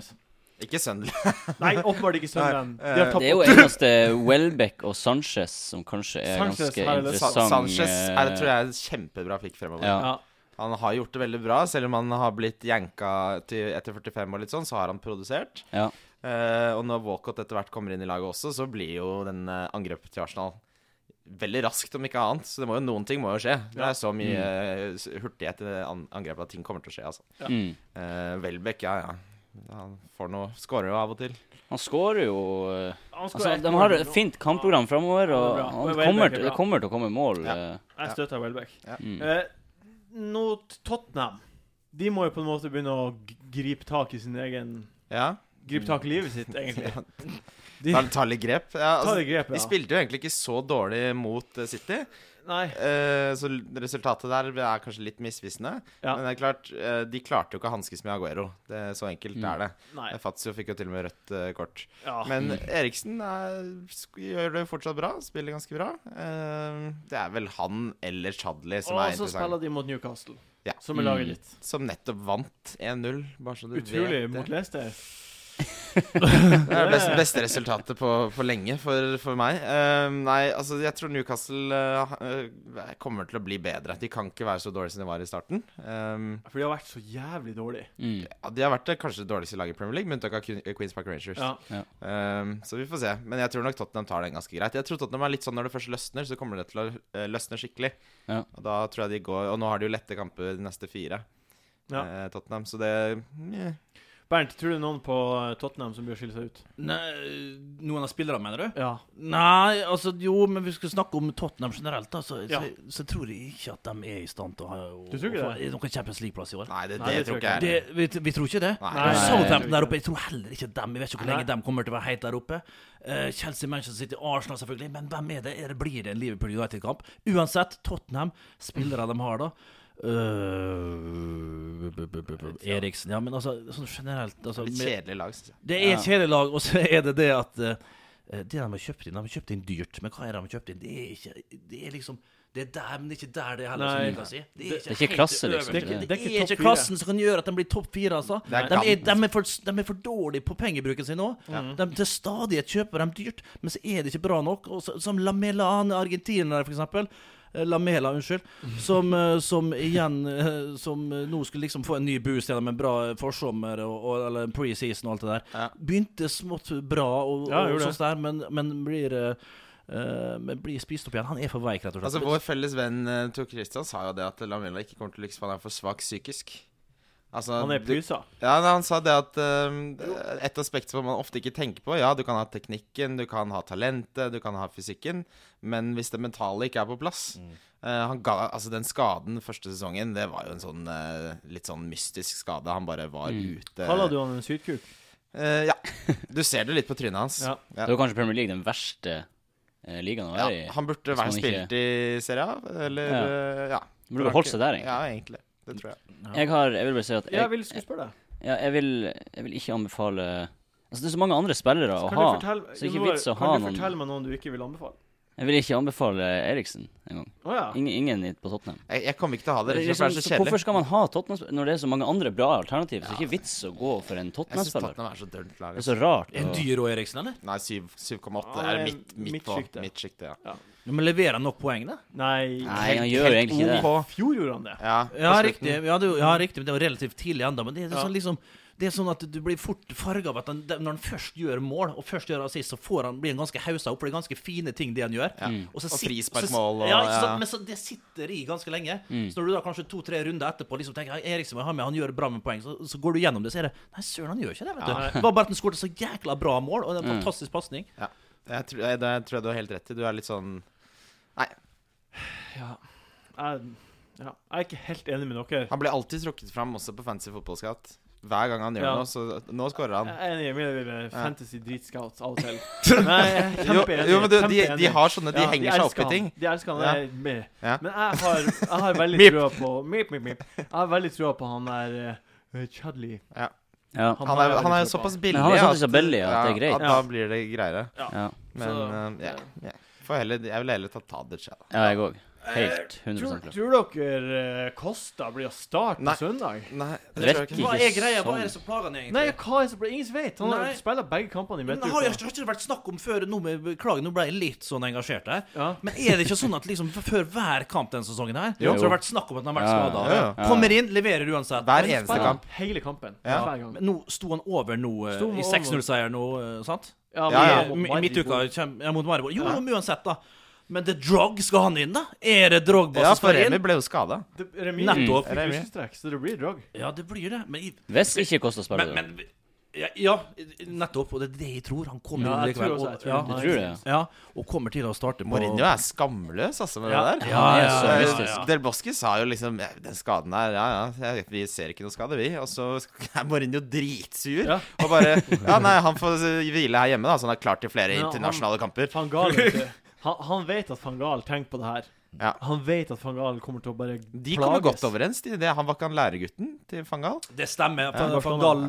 S2: Ikke Sunderland.
S1: Nei, åpenbart ikke Sunderland.
S2: Nei, eh,
S1: De har
S3: Det er jo
S1: tapt
S3: eneste Welbeck og Sanchez som kanskje er
S1: Sanchez
S3: ganske
S1: har jeg lyst-
S2: Sa-
S3: interessant
S2: Sanchez
S3: eh,
S2: er, tror jeg er kjempebra pick fremover.
S3: ja.
S1: ja.
S2: Han har gjort det veldig bra, selv om han har blitt janka til etter 45 og litt sånn, så har han produsert.
S3: Ja.
S2: Eh, og når Walcott etter hvert kommer inn i laget også, så blir jo den eh, angrepet til Arsenal veldig raskt, om ikke annet. Så det må jo, noen ting må jo skje. Det er så mye eh, s- hurtighet i det an- angrepet at ting kommer til å skje, altså.
S3: Mm.
S2: Eh, Welbeck, ja ja. Han får noe Skårer jo av og til.
S3: Han skårer jo eh,
S1: Han skårer
S3: altså,
S1: ett
S3: De
S1: mål
S3: har
S1: nå.
S3: et fint kampprogram framover,
S1: Ja,
S3: og
S1: det er bra. Welbeck er
S3: han kommer,
S1: bra.
S3: til- det kommer til å komme mål.
S2: Ja.
S3: eh.
S1: Jeg støtter Welbeck.
S2: Ja.
S3: Mm.
S1: Eh, nå t- Tottenham De må jo på en måte begynne å g- gripe tak i sin egen
S2: Ja.
S1: Gripe tak i livet sitt, egentlig. De
S2: Tar, tar litt grep. Ja,
S1: tar
S2: altså,
S1: det grepet.
S2: de
S1: Ja.
S2: spilte jo egentlig ikke så dårlig mot eh, City.
S1: Nei.
S2: Eh, så l- resultatet der er kanskje litt misvisende.
S1: Ja.
S2: Men det er klart, eh, de klarte jo ikke å hanskes med Aguero. Det, så enkelt
S3: Mm.
S2: er det.
S1: Nei. Ah.
S2: Fazio fikk jo til og med rødt eh, kort.
S1: Ja.
S2: Men Eriksen er, sk- gjør det jo fortsatt bra. Spiller ganske bra. Eh, det er vel han eller Chadli som
S1: Og
S2: er
S1: så
S2: interessant.
S1: spiller de mot Newcastle,
S2: Ja.
S1: som er laget
S3: Mm.
S1: ditt.
S2: Som nettopp vant 1-0. Bare så du
S1: Utrolig
S2: vet
S1: mot
S2: det.
S1: Leicester.
S2: Det er det beste, beste resultatet på, på lenge for, for meg. Eh, nei, altså jeg tror Newcastle eh, eh, kommer til å bli bedre. De kan ikke være så dårlige som de var i starten. Um,
S1: For de har vært så jævlig dårlige.
S3: Mm.
S2: Ja, De har vært det kanskje dårligste laget i Premier League, med unntak av Queen- eh, Queens Park Rangers.
S1: Ja.
S2: Ehm, så vi får se. Men jeg tror nok Tottenham tar den ganske greit. Jeg tror Tottenham er litt sånn når det først løsner, så kommer det til å eh, løsne skikkelig.
S3: Ja.
S2: Og da tror jeg de går Og nå har de jo lette kamper de neste fire.
S1: Ja.
S2: eh, Tottenham. Så det eh.
S1: Bernt, tror du det er noen på eh, Tottenham som bør skille seg ut?
S4: Nei, noen av spillerne, mener du?
S1: Ja.
S4: Nei, altså jo, men vi skal snakke om Tottenham generelt, da, så,
S1: Ja.
S4: så, så tror jeg ikke at de er i stand til å ha å,
S1: Du tror ikke
S4: å få noen Champions League-plass i år.
S2: Nei, det, det,
S1: Nei, det
S2: tror
S1: tror
S2: ikke
S1: jeg
S2: jeg.
S4: Det, vi, vi tror ikke det.
S2: Nei.
S1: Nei, jeg
S4: Southampton
S1: tror
S4: der
S1: ikke
S4: oppe, jeg tror heller ikke dem. Jeg vet ikke hvor lenge de kommer til å være helt der oppe. Eh, Chelsea, Manchester City, Arsenal selvfølgelig. Men hvem er det? Er det blir det en Liverpool United-kamp? Uansett, Tottenham, spillere de har da. Eh, b- b- b- b- Eriksen, ja. Men altså, sånn generelt altså,
S2: Litt
S4: med,
S2: kjedelig lag, syns jeg.
S4: Det er et kjedelig lag, og så er det det at eh, Det de har kjøpt inn, de har kjøpt inn dyrt. Men hva er det de har kjøpt inn? Det er ikke Det er liksom det er der, men det er ikke der det er heller,
S1: Nei.
S4: som du kan si. Det
S3: er ikke
S4: helt
S3: klasse,
S4: øverst.
S3: liksom.
S4: Det er ikke, det er ikke,
S1: topp fire.
S4: klassen som kan gjøre at de blir topp fire, altså.
S2: Det er
S4: De er,
S2: kampen
S4: de, er for, de er for dårlige på pengebruken sin nå. De til stadighet kjøper dem dyrt, men så er det ikke bra nok. Og så, som Lamela, han er argentiner, for eksempel. Eh, Lamela, unnskyld. Som, eh, som igjen eh, Som eh, nå skulle liksom få en ny boost gjennom en bra eh, forsommer og, og, eller preseason og alt det der.
S2: Ja.
S4: Begynte smått bra, og,
S1: Ja,
S4: og
S1: gjorde
S4: sånt der, men, men blir eh, eh, men blir spist opp igjen. Han er for veik, rett og slett.
S2: Altså, vår felles venn eh, Tor Christian sa jo det at Lamela ikke kommer til å lykkes, for han er for svak psykisk. Altså,
S1: Han er
S2: du-
S1: pysa.
S2: Ja, nei, han sa det at um, et aspekt som man ofte ikke tenker på Ja, du kan ha teknikken, du kan ha talentet, du kan ha fysikken, men hvis det mentale ikke er på plass
S1: Mm.
S2: eh, han ga, altså Den skaden første sesongen, det var jo en sånn eh, litt sånn mystisk skade. Han bare var ute
S1: Kaller Mm. du han en sytkuk?
S2: Eh, ja. Du ser det litt på trynet hans.
S1: Ja.
S2: Ja.
S3: Det var kanskje Premier League den verste eh, ligaen å
S2: Ja,
S3: være i.
S2: han burde
S3: Hvis man
S2: være
S3: ikke-
S2: spilt i Serie A, eller
S3: Ja.
S2: eh, ja.
S3: Burde holdt seg der, egentlig.
S2: Ja, egentlig. Det tror jeg.
S3: Jeg, har, jeg vil bare si at
S1: Jeg
S3: jeg,
S1: vil skulle spørre deg.
S3: ja, jeg, vil, jeg vil ikke anbefale Altså, det er så mange andre spillere å
S1: Kan
S3: ha.
S1: du fortelle,
S3: så det er ikke
S1: Januar,
S3: vits å ha
S1: kan du
S3: noen-
S1: fortelle meg noen du ikke vil anbefale?
S3: Jeg vil ikke anbefale Eriksen engang.
S1: Å ja.
S3: Ingen, ingen i- på Tottenham.
S2: jeg. Jeg kommer ikke til å ha det, rett og slett, for
S3: Liksom,
S2: det er så
S3: så hvorfor
S2: kjedelig.
S3: skal man ha Tottenham når det er så mange andre bra alternativer? Så det er ikke vits å gå for en
S2: Jeg syns
S3: Tottenham-spiller.
S2: Tottenham er så dølt lag.
S3: Det er så rart.
S4: En
S3: og-
S4: dyr og Eriksen, eller?
S2: Nei, syv- 7,8
S1: Ja,
S2: er
S1: det er
S2: midt, midt på
S1: midtsjiktet.
S2: midtsjiktet. Ja.
S4: Men leverer han nok poeng, da?
S1: Nei,
S3: Nei, han gjør jo egentlig ikke det.
S1: I fjor gjorde han det.
S2: Ja,
S4: Ja,
S2: på slutten.
S4: riktig. Ja, det, er jo- ja, riktig. Men det er jo relativt tidlig ennå. Men det er,
S1: Ja.
S4: sånn, liksom, det er sånn at du blir fort farga av at han, når han først gjør mål, og først gjør assist, så får han, blir han ganske hausa opp, for det er ganske fine ting det han gjør.
S3: Mm.
S4: Og, så
S2: Og
S4: sit-
S2: frisparkmål
S4: så-
S2: og-
S4: ja, ikke sant?
S2: ja.
S4: Men så, det sitter i ganske lenge.
S3: mm.
S4: Så når du da kanskje to-tre runder etterpå liksom tenker «Ei, Eriksen må jeg ha med, han gjør bra med poeng, så, så går du gjennom det, så er det Nei, søren, han gjør ikke det, vet du. Det var bare at han skåret så jækla bra mål, og det er en fantastisk pasning.
S2: Ja. Jeg tror, jeg, det tror jeg du har helt rett i. Du er litt sånn
S1: Jeg, ja, jeg er ikke helt enig med dere.
S2: Han blir alltid trukket fram også på Fantasy Football Scout. Hver gang han gjør
S1: Ja.
S2: noe, så nå scorer han.
S1: Jeg er enig med dere fantasy dritscouts av og til. Nei, jeg er
S2: Jo,
S1: kjempeenig.
S2: jo, men du, de,
S1: kjempeenig.
S2: de har sånne De
S1: Ja,
S2: henger seg opp
S1: elsker
S2: i
S1: han.
S2: ting.
S1: De elsker han.
S2: Ja.
S1: Jeg er med.
S2: Ja.
S1: Men jeg har, jeg har
S2: [laughs]
S1: veldig
S2: Mip.
S1: trua på Mip, mip, mip. Jeg har veldig trua på han der eh, Chudley.
S3: Ja.
S1: Han
S2: Han
S1: har
S2: er,
S1: jeg
S2: han er
S1: veldig trua på.
S2: såpass billig
S3: Men han er såpass
S2: at-
S3: billig at det er greit.
S2: da
S1: Ja.
S2: blir det greiere.
S3: ja.
S2: Men
S1: Så-
S2: eh, ja, ja. Får heller, jeg vil heller ta Tadic. jeg, da.
S3: ja, jeg òg. Helt 100
S1: Tror,
S3: klar.
S1: tror dere eh, Costa blir å starte
S2: Nei.
S1: på søndag?
S2: Nei,
S3: Det
S2: det tror jeg
S3: virker
S2: ikke.
S4: Hva
S3: Ikke
S4: er greia? Hva
S3: sånn.
S4: er det som plager han egentlig?
S1: Nei, hva er det som blir- Ingen vet. Han
S4: Nei.
S1: har spiller begge kampene i
S4: Men det har
S1: midtuka.
S4: jo ikke det har ikke vært snakk om før nå, med, Beklager, nå ble jeg litt sånn engasjert her.
S1: Ja.
S4: Men er det ikke sånn at liksom før hver kamp denne sesongen her,
S3: Jo.
S4: så har det vært snakk om at han har vært
S3: Ja,
S4: skada?
S2: ja,
S3: ja.
S4: Kommer inn, leverer uansett.
S2: Hver
S4: Men-
S2: eneste
S1: Spiller
S2: kamp.
S1: Hele kampen.
S2: Ja.
S1: Hver gang.
S4: Men nå sto han over nå, eh,
S1: Sto han
S4: i
S1: over.
S4: 6-0-seier nå, eh, sant?
S1: Ja,
S2: Ja,
S1: men-
S4: I eh, i
S1: Madrid-
S4: midtuka kjem- ja, mot Maribor. Jo,
S1: Ja.
S4: men uansett, da. Men The Drog, skal han inn, da? Er det Drogba
S2: Ja,
S4: som
S2: for
S4: skal
S2: Remi
S4: inn?
S2: ble jo skada.
S1: Det- Remi
S4: Nettopp.
S1: fikk
S2: Remi.
S1: puskestrekk, så det blir drag.
S4: Ja, det blir det. Men, i-
S3: Hvis ikke Kosta spiller det.
S4: men, men ja, ja, nettopp. Og det er det jeg tror. Han kommer
S1: Ja,
S4: inn
S1: jeg tror
S4: likevel.
S1: også,
S4: og-
S1: jeg tror
S4: ja,
S1: han-
S3: Du tror det? ja.
S4: ja, og kommer til å starte på
S2: Mourinho er skamløs, altså, med
S1: Ja.
S2: det der.
S4: Ja,
S3: Han er
S4: ja,
S3: så
S4: ja, ja,
S3: mystisk.
S4: ja.
S2: Del Bosque sa jo liksom "Ja, Den skaden der, ja ja, jeg- vi ser ikke noe skade, vi. Og så [laughs] er Mourinho dritsur.
S1: Ja.
S2: Og bare Ja, nei, han får hvile her hjemme, da, så han er klar til flere
S1: Ja, han-
S2: internasjonale kamper.
S1: Van
S2: [laughs]
S1: Gaal, vet du. han, han vet at van Gaal tenker på det her.
S2: Ja.
S1: Han vet at van Gaal kommer til å bare
S2: De kommer godt overens. De, det, han var ikke han læregutten til Fangal?
S4: Det stemmer.
S1: Ja,
S4: Van, van
S1: Barcelona,
S4: Gaal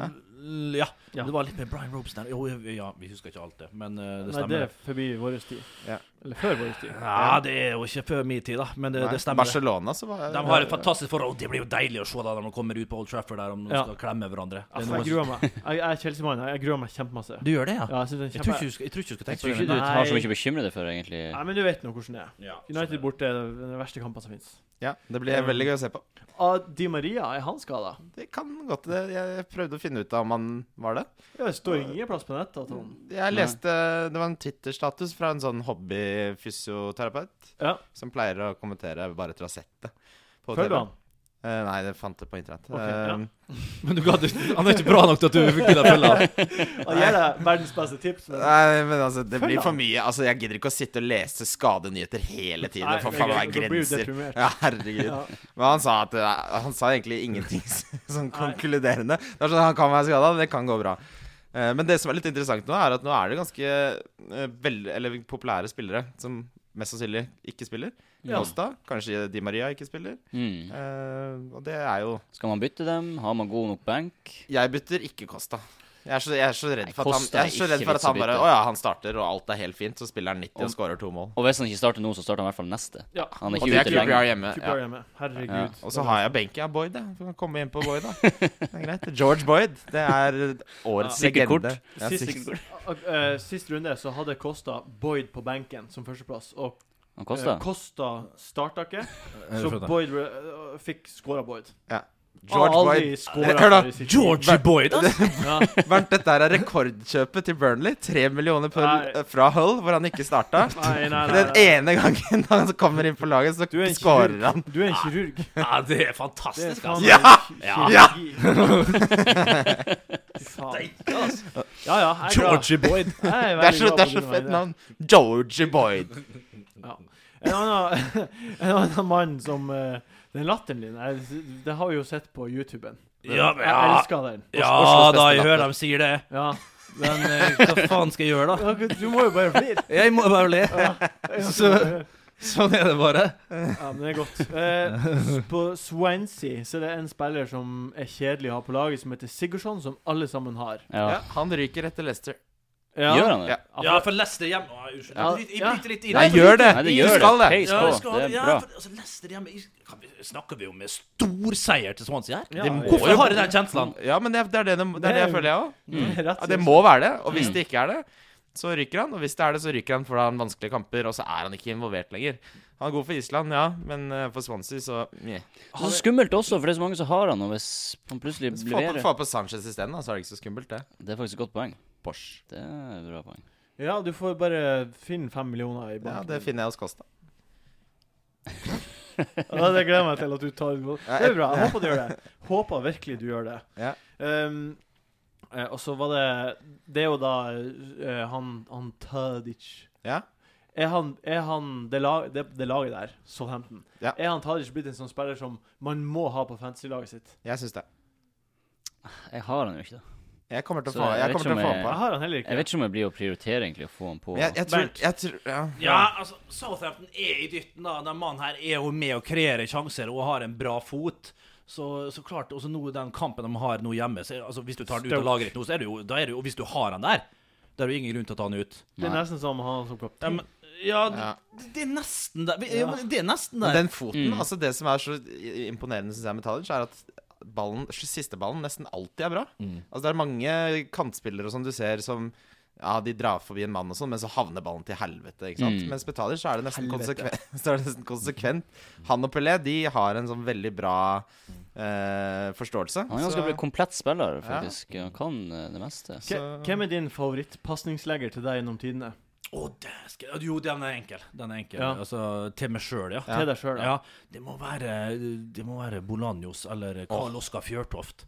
S4: ja.
S1: Ja.
S4: Det var litt med Brian Robson der. Jo, ja, ja, vi husker ikke alt det, men eh, det
S1: Nei, det Altså,
S4: stemmer.
S1: er forbi vår tid.
S2: Ja.
S1: Eller før vår tid.
S4: ja, det er jo ikke før min tid, da, men det,
S2: Nei,
S4: det stemmer. det.
S2: Barcelona, så var
S4: De har et fantastisk forhold. Det blir jo deilig å se da når de kommer ut på Old Trafford der om de
S1: Ja.
S4: skal klemme hverandre. Det er
S1: Altså,
S4: noe
S1: jeg gruer meg. Jeg, jeg er Chelsea-mann. Jeg gruer meg kjempemasse.
S4: som- Du gjør det,
S1: Ja,
S4: ja?
S1: jeg, synes det er
S4: Jeg
S1: kjempe...
S4: tror ikke du skal, jeg tror ikke du skal tenke
S3: Tror
S4: på
S3: ikke
S4: det.
S3: du har så
S1: Nei.
S3: mye å bekymre deg for, egentlig.
S1: Nei, men du vet nå hvordan det er.
S4: men- Ja,
S1: United
S4: sånn er det.
S1: borte er den verste kampen som fins.
S2: Ja, det blir veldig gøy å se på.
S1: Ah, Di Maria, er han skada?
S2: Det kan godt det. Jeg prøvde å finne ut av om han var det.
S1: Det står ingen plass på nettet at han
S2: Jeg leste Det var en Twitter-status fra en sånn hobbyfysioterapeut
S1: Ja,
S2: som pleier å kommentere bare trasettet. på
S1: følger
S2: TV.
S1: han.
S2: Eh, nei, det fant det på internett.
S1: Ok,
S2: Eh,
S1: ja.
S4: Men du gadd ikke Han er ikke bra nok til at du fikk gidde å følge av.
S1: Han gir deg verdens beste tips. Men...
S2: Nei, men altså, det
S1: Følg
S2: blir
S1: han.
S2: for mye. Altså, Jeg gidder ikke å sitte og lese skadenyheter hele tiden.
S1: Nei,
S2: for
S1: det er
S2: faen, det
S1: greit,
S2: er
S1: da blir du
S2: grenser.
S1: deprimert.
S2: Ja, herregud.
S1: Ja.
S2: Men han sa, at, eh, han sa egentlig ingenting [laughs] sånn konkluderende. Det er sånn, Han kan være skada, det kan gå bra. Eh, Men det som er litt interessant nå, er at nå er det ganske eh, vel, eller populære spillere som mest sannsynlig ikke spiller.
S3: Ja.
S2: Costa, kanskje Di Maria ikke spiller.
S3: Mm.
S2: Eh, og det er jo
S3: Skal man bytte dem? Har man god nok benk?
S2: Jeg bytter ikke Costa. Jeg er så, jeg er så redd
S3: Nei,
S2: for at han,
S3: Costa er
S2: jeg er så
S3: ikke
S2: redd for
S3: vits
S2: at
S3: å
S2: han bare
S3: bytte.
S2: Å ja, han starter, og alt er helt fint. Så spiller han 90 og scorer to mål.
S3: Og hvis han ikke starter nå, så starter han i hvert fall neste.
S1: Ja.
S3: Han er
S2: Og
S3: ikke
S2: det er
S3: ute lenge.
S2: QPR hjemme.
S1: Cooper
S2: Ja.
S1: er hjemme. Herregud.
S3: Ja.
S2: Og så har jeg benken av Boyd. Jeg. Så kan jeg komme inn på Boyd, da. Det er greit. [laughs] George Boyd. Det er årets
S3: Sikkert kort.
S2: legende. Ja,
S1: Sist-
S2: sikkert
S1: [laughs]
S2: kort.
S1: Eh, Sist runde så hadde Kosta Boyd på benken som førsteplass, og
S3: Han
S1: Kosta,
S3: koster.
S1: Kosta starta
S2: [laughs]
S1: ikke,
S4: det
S1: så
S4: skjønner jeg.
S1: Boyd eh, fikk scora Boyd.
S2: George Boyd.
S1: Boyd.
S2: Hør da,
S4: Georgie Boy, da!
S1: Ja.
S2: Bernt, dette her er rekordkjøpet til Burnley. Tre millioner pund eh,
S1: Nei.
S2: fra Hull, hvor han ikke starta.
S1: Nei, nei, nei,
S2: Den
S1: nei.
S2: ene gangen [laughs] han kommer inn på laget, så
S1: Du er en
S2: scorer
S1: kirurg.
S2: han.
S1: Du er en kirurg.
S4: Ja, det er
S1: Det er
S4: fantastisk,
S1: faen
S4: altså.
S1: meg
S4: Ja!
S1: en
S2: [laughs]
S1: kirurgi. Fy faen. Ja, ja. Jeg er glad.
S4: Georgie Boyd.
S1: Jeg
S2: Det er
S1: veldig
S2: så,
S1: glad
S2: det er
S1: på
S2: så
S1: dine
S2: fett
S1: vegne.
S2: navn. Georgie Boyd.
S1: Ja. En annen, [laughs] en annen mann som eh, Den latteren din, jeg, det har vi jo sett på YouTuben.
S4: Ja, men
S1: Jeg
S4: ja.
S1: elsker den.
S4: ja da, jeg hører dem sier det.
S1: Ja.
S4: Men eh, hva faen skal jeg gjøre, da?
S1: Ja, Du må jo bare flire.
S4: Jeg må bare le. Så- Sånn er det bare.
S1: Ja, men det er godt. Eh, på Swansea så er det en spiller som er kjedelig å ha på laget, som heter Sigurdsson, som alle sammen har.
S3: Ja.
S2: Ja, han ryker etter Leicester.
S1: Ja.
S3: Gjør han det?
S2: Ja.
S4: Ja, for Leicester hjemme Å, Unnskyld.
S1: Ja.
S4: Jeg bryter- Jeg bryter litt inn.
S2: Nei, gjør det!
S3: Nei, det
S2: du
S3: gjør
S2: skal
S3: det.
S2: det!
S3: Pace
S4: Ja,
S3: på.
S4: jeg skal,
S3: Det er
S4: ja,
S3: bra.
S4: for, altså, Leicester hjemme i- kan vi, Snakker vi om en stor seier til Swansea her?
S1: Ja,
S2: De
S1: ja.
S2: må
S4: Hvorfor
S2: jo-
S4: har jeg den kjenslen?
S2: Ja, men det, det, er, det, det, det er det jeg føler, jeg òg.
S3: Mm.
S1: Rett
S2: Ja, det
S1: ut.
S2: må være det. Og hvis
S3: Mm.
S2: det ikke er det, så ryker han. Og hvis det er det, så ryker han fordi han har vanskelige kamper, og så er han ikke involvert lenger. Han er god for Island, ja, men eh, for Swansea, så meh.
S3: Så skummelt også, for det er så mange som har han, og hvis han plutselig
S2: Få
S3: leverer
S2: få på Sanchez isteden, da, så er det ikke så skummelt, det.
S3: Det er faktisk et godt poeng.
S2: Porsche.
S3: Det er et bra poeng.
S1: Ja, du får bare finne fem millioner i
S2: Ja,
S1: banken.
S2: det finner jeg hos Costa.
S1: Ja, det gleder jeg meg til at du tar imot. Det er bra. Jeg håper du gjør det. Håper virkelig du gjør det.
S2: Ja.
S1: Ehm, eh, og så var det Det er jo da eh, han, han Tadic
S2: Ja.
S1: Er han, er han det, lag, det, det laget der, Southampton
S2: Ja.
S1: Er han Tadic blitt en sånn spiller som man må ha på fantasy-laget sitt?
S2: Jeg syns det.
S3: Jeg har han jo ikke, da.
S2: Jeg kommer til å
S3: Så
S2: få
S3: jeg
S2: Jeg Ah,
S3: vet
S2: kommer til å
S3: ikke
S2: få
S3: om
S1: Jeg
S2: på.
S1: har han heller
S3: Jeg
S1: ikke.
S3: vet ikke om jeg blir å prioritere egentlig å få han på.
S2: Men jeg, jeg tror,
S1: Bernt.
S2: jeg tror ja.
S4: Ja, altså, Southampton er i dytten, da. Den mannen her er jo med og kreerer sjanser og har en bra fot. Så, så klart, også nå, den kampen de har nå hjemme så, er- altså, Hvis du tar den ut av
S1: Stoke.
S4: laget ditt nå, så er det jo, da er det jo Og hvis du har han der, da er det jo ingen grunn til å ta han ut.
S1: Det er nesten som han som
S4: Ja,
S1: kaptein.
S4: men, ja,
S2: Ja.
S4: Det, det er nesten der. Vi- Ja.
S1: Ja.
S4: men Det er nesten
S2: Men
S4: der.
S2: Den foten,
S4: Mm.
S2: altså det som er så i- imponerende synes jeg med Tadic, er at ballen, siste ballen nesten alltid er bra.
S4: Mm.
S2: Altså det er mange kantspillere og sånn du ser som ja, de drar forbi en mann og sånn, men så havner ballen til helvete. ikke sant?
S3: Mm.
S2: Mens med Tadic så er det nesten konsekvent. [laughs] Så er det nesten konsekvent. Han og Pelé de har en sånn veldig bra eh, forståelse.
S3: Han er ganske
S2: så-
S3: blitt komplett spiller, faktisk. Han kan eh, det meste.
S1: Ke- Hvem er din favorittpasningslegger til deg gjennom tidene?
S4: Å, det skal, jo, den er enkel. Den er enkel.
S1: Ja.
S4: Altså, til meg sjøl, ja.
S1: Til deg sjøl, da.
S4: Ja, det må være Det må være Bolanjos eller Karl Oskar Fjørtoft.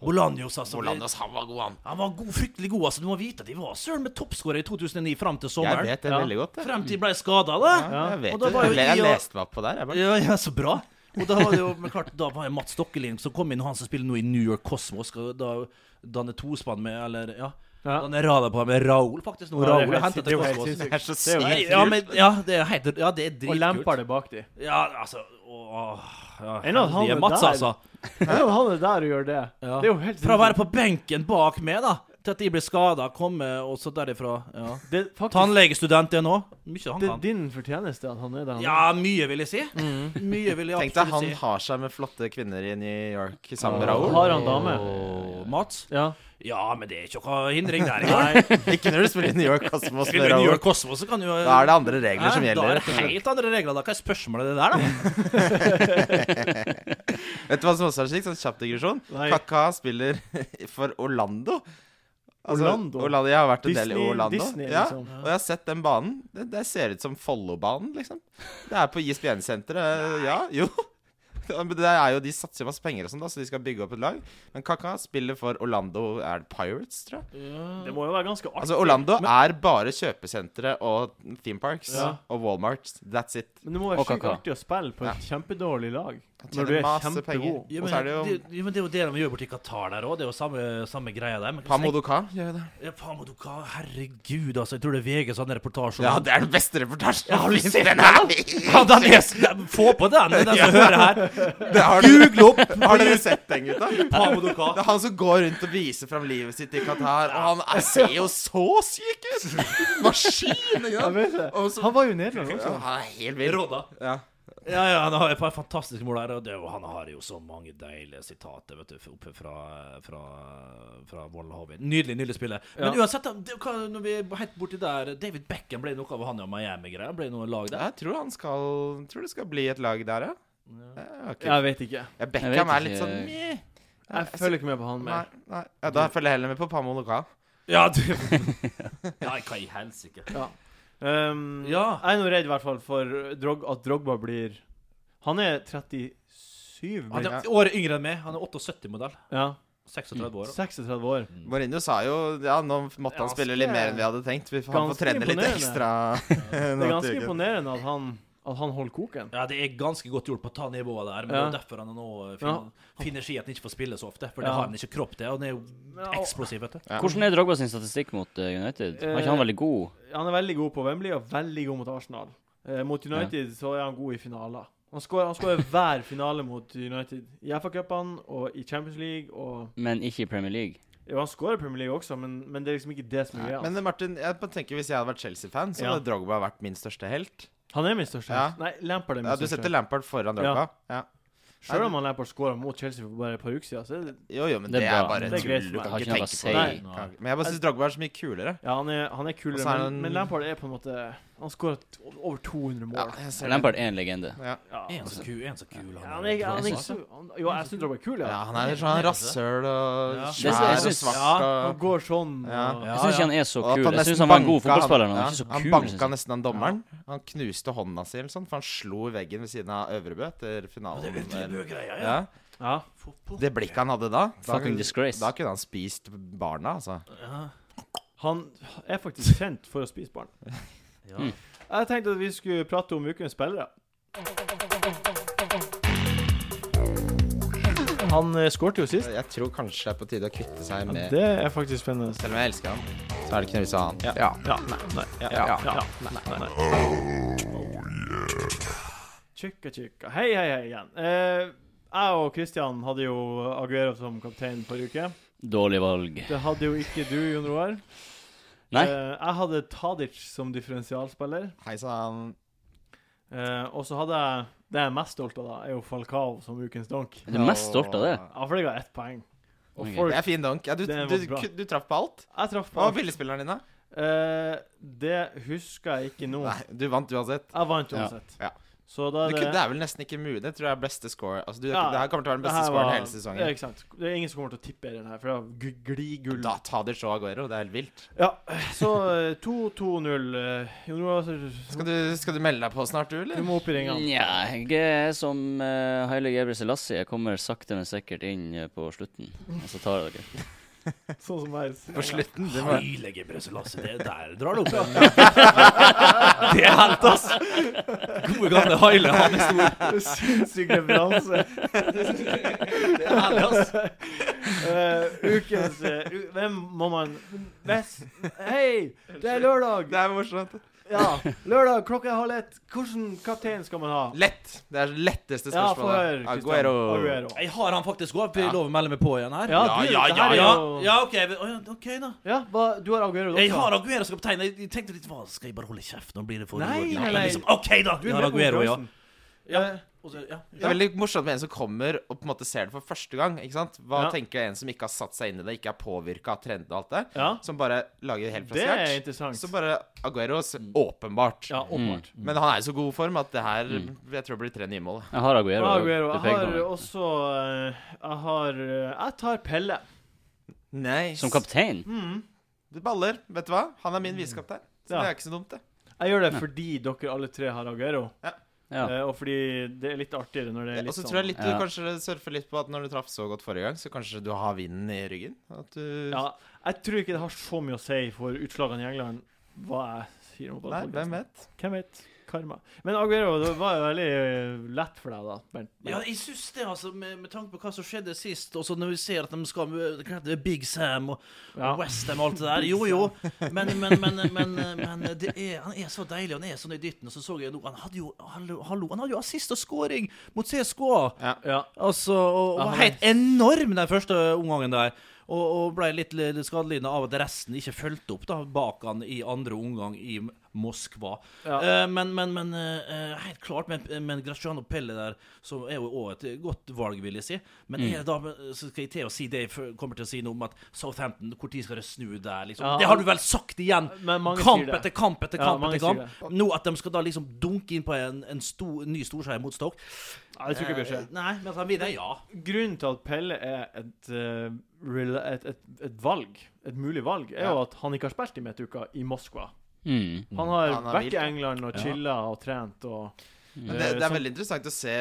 S4: Bolanjos, altså.
S2: Orlandos, han var god, han.
S4: Han var god, fryktelig god. altså Du må vite at de var søren med toppskårer i 2009 fram til
S2: Jeg
S4: sommeren.
S2: vet det
S1: Ja.
S2: veldig godt. Jeg,
S4: Frem til de ble skada, da.
S2: ja, jeg
S4: Og
S2: vet
S4: da
S2: det.
S4: var jo
S2: Jeg,
S4: i
S2: jeg
S4: og-
S2: leste meg opp på der. Jeg bare,
S4: Ja, ja, så bra. Og da var det jo, men klart, da var det Mats Stokkelin som kom inn, og han som spiller nå i New York Cosmos. Skal da danne tospann med, eller ja
S1: Ja.
S4: Danne radar med Raoul, faktisk.
S1: Ja,
S4: Nå,
S1: det er
S4: Raoul er
S1: helt
S4: hentet
S1: sin- det er
S4: til
S1: jo helt
S4: Cosmos.
S1: sinnssykt.
S2: det er så
S1: Det er jo
S4: Nei,
S2: sykt.
S4: ja, men, ja, det er helt Ja, det er
S1: Og
S4: dritkult.
S1: lemper det bak de.
S4: Ja, altså åh, ja,
S1: Enn at han
S4: heldige
S1: er
S4: Mats,
S1: der.
S4: altså.
S1: Hvem han er der og gjør det?
S4: Ja.
S1: Det er jo helt
S4: Fra å være på benken bak meg, da, til at de blir skada, komme og så derifra. Ja.
S1: Det er faktisk
S4: Tannlegestudent igjen òg. Mye
S1: det
S4: han
S1: er
S4: kan.
S1: din fortjeneste at han er der. han er.
S4: Ja, mye vil jeg si. Mye vil jeg
S2: Mm. Tenk deg,
S4: absolutt
S2: han
S4: si.
S2: har seg med flotte kvinner i New York sammen med Raoul.
S1: Har han dame?
S4: Åh, Mats?
S1: Ja.
S4: Ja, men det er ikke noe hindring der engang.
S1: Nei.
S2: Ikke når du spiller [laughs] i New York altså, Cosmos.
S4: Spiller du New York Cosmos, så kan du
S2: Da er det andre regler som
S4: Da er
S2: gjelder.
S4: det helt andre regler. Da Hva er spørsmålet det der, da?
S2: Vet du hva som også er slik? Sånn kjapp digresjon.
S1: Nei.
S2: Kaka spiller [laughs] for Orlando. Altså,
S1: Orlando?
S2: Jeg har vært en del i
S1: Disney-
S2: Orlando.
S1: Disney,
S2: ja.
S1: liksom.
S2: Og jeg har sett den banen. Det, det ser ut som Follobanen, liksom. Det er på ISBN-senteret. Ja, jo. [laughs] Ja, men det er jo, De satser masse penger, og sånn da så de skal bygge opp et lag. Men Kaka spiller for Orlando er det Pirates, tror jeg.
S1: Det må jo være ganske artig.
S2: Altså Orlando er bare kjøpesentre og theme parks
S1: Ja.
S2: og Walmart. That's it.
S1: Men det må være
S3: Og
S1: sjukt
S3: Kaká.
S1: artig å spille på et kjempedårlig lag.
S2: tjener
S1: Når du er
S2: masse
S1: kjempegod.
S2: penger. Og
S4: Ja, men,
S2: så er det jo-
S4: det, ja, men det er jo det de gjør borti Qatar der òg. Det er jo samme, samme greia der. Men
S2: Pamodoka gjør jo det.
S4: Ja, Pamodoka, herregud, altså. Jeg tror det er VG som hadde reportasje om
S2: Ja, det er den beste reportasjen.
S4: har du
S2: Fy,
S4: sett
S2: den [laughs]
S4: den,
S2: er-
S4: Ja, den er- Få på den, den som hører her.
S2: Det har dere- Har dere sett den, gutta?
S4: Pamodoka.
S2: Det er han som går rundt og viser fram livet sitt i Qatar, og han er, ser jo så syk ut! Maskin! Ikke
S1: Jeg vet
S2: sant?
S1: det.
S2: Og så,
S1: Han var jo i Nederland
S2: ja,
S1: også.
S2: han er helt vill.
S4: Råda.
S2: Ja.
S4: Ja, ja, han har et par fantastiske mål der. Og det, er jo- han har jo så mange deilige sitater vet du, oppe fra, fra, fra Vollenhoven. Nydelig, nydelig spiller. Men uansett, da, det, hva, når vi er helt borti der David Beckham ble noe av han og Miami-greia. Ble noe lag der.
S2: Jeg tror han skal Tror det skal bli et lag der, ja. ja ok.
S1: Jeg vet ikke.
S2: ja
S3: Jeg
S2: Beckham
S3: vet
S2: er litt
S3: ikke.
S2: sånn meh.
S4: altså-
S1: Jeg følger ikke med på han
S2: Nei,
S1: mer.
S2: nei. Ja, da følger jeg heller med på Pamo Lokal.
S4: Ja, du Nei, hva i helsike.
S1: Um,
S4: Ja.
S1: Jeg er nå redd i hvert fall for drog, at Drogba blir Han er 37,
S4: Han
S1: blir
S4: er året yngre enn meg. Han er 78-modell.
S2: Ah.
S1: ja.
S4: 36 år.
S1: 36 år.
S2: Mourinho sa jo ja, nå måtte han
S1: Ganske-
S2: spille litt mer enn vi hadde tenkt. Vi får, han
S1: Ganske
S2: får trene litt
S1: imponerende.
S2: ekstra.
S1: Det er ganske imponerende at han, at han holder koken.
S4: Ja, det er ganske godt gjort på å ta nivået der, men
S1: Ja.
S4: det er jo derfor han nå
S1: Ja.
S4: finner, finner ski at han ikke får spille så ofte. For det
S1: Ja.
S4: har han ikke kropp til, og han er
S1: Ja,
S4: jo
S1: og-
S4: eksplosiv, vet du.
S2: Ja.
S3: Hvordan er Drogba sin statistikk mot eh, United? Var ikke han veldig god?
S1: Han er veldig god på Wembley og veldig god mot Arsenal. Eh, mot United så er han god i finaler. Han skårer han
S2: [laughs]
S1: skårer hver finale mot United. I FA-cupene og i Champions League og
S3: Men ikke i Premier League.
S1: Jo, han skårer i Premier League også, men, men det er liksom ikke det som er greia.
S2: Men Martin, jeg bare tenker hvis jeg hadde vært Chelsea-fan, så
S1: Ja.
S2: hadde Drogba vært min største helt.
S1: Han er min største
S2: Ja.
S1: helt. Nei, Lampard er min
S2: Ja, du setter
S1: største helt.
S2: Lampard foran Drogba. Ja.
S1: Selv om han Lampard skåra mot Chelsea for bare et par uker siden, så er det
S2: Jo, jo, men
S3: Det
S2: det,
S3: er
S2: er
S3: bra.
S2: bare
S1: Det er greit for
S2: tull. Du
S1: meg.
S2: kan
S3: Har ikke
S2: ikke
S3: noe å
S2: tenke på
S1: si.
S2: det. Kan- Men jeg bare syns Drogba er så mye kulere.
S1: Ja, han er, han er kulere,
S2: Og så er
S1: men,
S2: han-
S1: men Lampard er på en måte Han skåra over 200
S2: Ja,
S1: mål.
S2: jeg ser det.
S3: Lampard er en legende.
S2: Ja.
S1: Ja. altså.
S4: Er han så kul, er han så kul
S1: Ja, han er ikke, han er ikke
S4: altså?
S1: så han, Jo, jeg syns han er kul,
S2: ja,
S1: ja.
S2: han er sånn rasshøl og
S4: Ja.
S3: Det
S2: svær
S3: synes- jeg
S2: og
S3: synes-
S2: svart
S1: Han
S2: og
S1: går sånn
S2: Ja.
S1: og
S4: Ja,
S3: Jeg syns
S4: ja.
S3: ikke han er så
S2: Og at
S3: kul. Jeg
S2: nesten
S3: syns han var en god
S2: banka
S3: fotballspiller, men han
S2: ja,
S3: er ikke så
S2: han
S3: kul.
S2: banka
S3: synes jeg.
S2: nesten han dommeren. Han knuste hånda si, eller sånn, for han slo i veggen ved siden av Øvrebø etter
S4: Det
S2: finalen.
S4: er det er jo greia, ja.
S2: Ja.
S1: Ja.
S4: Fotball.
S2: Det blikket han hadde da da
S3: Fucking
S2: kunne-
S3: disgrace.
S2: Da kunne han spist barna, altså.
S4: Ja.
S1: Han er faktisk kjent for å spise barn.
S4: [laughs] Ja.
S3: Mm.
S1: Jeg tenkte at vi skulle prate om ukens spillere. Han eh, skårte jo sist.
S2: Jeg tror kanskje det er på tide å kvitte seg
S1: Ja,
S2: med
S1: det er faktisk spennende.
S2: Selv om jeg elsker han, så er det ikke noe vits i å ha han.
S1: Ja, nei, nei, ja,
S2: ja,
S1: ja, nei, nei. Tjukka, tjukka. Hei, hei, hei igjen. Eh, jeg og Kristian hadde jo Aguero som kaptein forrige uke.
S3: Dårlig valg.
S1: Det hadde jo ikke du, Jon Roar.
S3: Nei.
S1: Eh, jeg hadde Tadic som differensialspiller.
S2: Hei sann.
S1: Eh, og så hadde jeg Det jeg er mest stolt av, da, er jo Falcao som ukens donk.
S3: Er du mest stolt av det?
S1: Ja, for jeg ga ett poeng. Og
S3: Ok.
S1: folk
S2: Det er fin donk. Ja, du,
S1: Det var
S2: du,
S1: bra.
S2: du, traff på alt.
S1: Jeg traff
S2: Hva
S1: på
S2: var billigspilleren din, da?
S1: Eh, Det husker jeg ikke nå.
S2: Nei, du vant uansett.
S1: Jeg vant
S3: Ja.
S1: uansett.
S2: Ja.
S1: Så da
S2: Du,
S1: er
S2: kunne-
S1: det
S2: det er vel nesten ikke mulig. Det tror jeg er beste score. Altså, du,
S1: Ja,
S2: det her kommer til å være
S1: Det
S2: den beste
S1: her
S2: scoren
S1: var- Ja,
S2: hele sesongen.
S1: ikke sant. Det er ingen som kommer til å tippe i den her, for det var gu-
S2: [laughs]
S1: gligull.
S2: Da tar de så Aguero. Det er helt vilt.
S1: Ja, så eh, 2-2-0. eh, Jon Roar, så-
S2: Skal du, skal du melde deg på snart, du,
S1: du
S2: eller?
S1: må opp i ringene.
S3: Nja, jeg er som uh, Haile Gebre Selassie. Jeg kommer sakte, men sikkert inn eh, på slutten. Og så tar jeg dere.
S1: Sånn som jeg
S2: På
S1: [laughs]
S2: slutten. Du må,
S4: Heilige Brøselasse, det der drar det opp en Det er helt, ass! Gode gamle Haile, han er stor.
S1: Sinnssyk
S2: [laughs]
S1: referanse.
S4: Det er herlig, ass.
S1: altså. Eh, ukens eh, u Hvem må man Hvis Hei, det er lørdag!
S2: det er morsomt.
S1: Ja, lørdag klokka er halv ett. Hvilken kaptein skal man ha?
S2: Lett. Det er det letteste
S1: Ja, få
S2: spørsmålet.
S1: høre.
S2: Aguero.
S1: Christian. Aguero.
S4: Jeg har han faktisk òg. Vi lover å melde meg på igjen her.
S1: Ja, du,
S2: Ja, ja,
S1: det her er
S4: ja,
S1: jo-
S4: ja OK, vi- å, ja, ok da.
S1: Ja, hva, du har Aguero
S4: Jeg har Aguero som kaptein. Jeg jeg tenkte litt hva, Skal jeg bare holde kjeft? Nå blir det for
S1: Nei,
S4: uordentlig.
S1: nei,
S4: Men
S1: nei.
S4: Liksom, OK, da!
S1: Du
S4: Jeg
S1: er med
S4: har
S1: på
S4: Aguero, ja.
S1: konkurransen. Ja.
S4: Og så- ja.
S2: Det er veldig morsomt med en som kommer og på en måte ser det for første gang. ikke sant? Hva
S1: Ja.
S2: tenker en som ikke har satt seg inn i det, ikke er påvirka av trender og alt det,
S1: Ja.
S2: som bare lager helt fra
S1: Det er
S2: scratch?
S1: interessant.
S2: Så bare Aguero s-
S3: Mm.
S2: åpenbart.
S1: Ja, åpenbart.
S2: Men han er i så god form at det her
S3: Mm.
S2: Jeg tror det blir tre nye mål.
S3: Jeg har Aguero.
S1: Aguero.
S3: Du
S1: Jeg
S3: peker på
S1: har
S3: meg.
S1: også eh, Jeg har eh, Jeg tar Pelle.
S2: Nice.
S3: Som kaptein?
S2: Du baller. Vet du hva? Han er min visekaptein.
S1: Mm.
S2: Så
S1: Ja.
S2: det er ikke så dumt, det.
S1: Jeg gjør det fordi dere alle tre har Aguero.
S2: Ja.
S3: Ja.
S1: Eh, og fordi det er litt artigere når det er
S2: Og
S1: litt
S2: så
S1: sånn
S2: tror jeg litt du
S3: Ja.
S2: kanskje surfer litt på at når du traff så godt forrige gang, så kanskje du har vinden i ryggen? At du
S1: Ja, jeg tror ikke det har så mye å si for utslagene i England hva jeg sier om
S2: Nei,
S1: fotballpodcasten.
S2: hvem vet?
S1: Hvem vet? Karma. Men Aguero, det var jo veldig eh, lett for deg, da. Bernt.
S4: Ja, jeg syns det, altså, med, med tanke på hva som skjedde sist, og så når vi ser at de skal møte hva heter det, Big Sam og,
S1: Ja.
S4: og Westham og alt det der. Jo, jo. Men, men, men, men, men det er, han er så deilig, han er sånn i dytten. Og så så jeg nå Han hadde jo hallo, hallo, han hadde jo assist og scoring mot CSKA.
S1: Ja.
S4: Altså, og, og
S1: Ja, han
S4: var
S1: er-
S4: helt enorm den første omgangen der. Og, og ble litt, litt skadelidende av at resten ikke fulgte opp da, bak han i andre omgang i M- Moskva.
S1: Ja.
S4: Eh, men men, men eh, eh, helt klart, men, men Graziano Pelle der, som er jo også et godt valg, vil jeg si.
S1: Mm.
S4: Men er det da, så skal jeg til å si det jeg fø- kommer til å si noe om at Southampton, når skal det snu der? liksom?
S1: Ja.
S4: det har du vel sagt igjen!
S1: Men mange
S4: kamp
S1: sier det.
S4: etter kamp etter
S1: Ja,
S4: kamp.
S1: mange
S4: etter
S1: sier
S4: kamp. Nå at de skal da liksom dunke inn på en, en stor- ny storseier mot Stoke
S1: Nei, det tror jeg ikke bør skje.
S4: Eh, Nei, men at han vinner, ja.
S1: Grunnen til at Pelle er et, eh, rela- et, et, et valg, et mulig valg, er jo at han ikke har spilt i midtuka i Moskva.
S3: Mm.
S1: Han har
S2: Han har
S1: vært i
S2: hvilt, ja. Mm.
S1: England og
S4: Ja.
S1: chilla og trent og Sånn.
S2: Men det, det er veldig interessant å se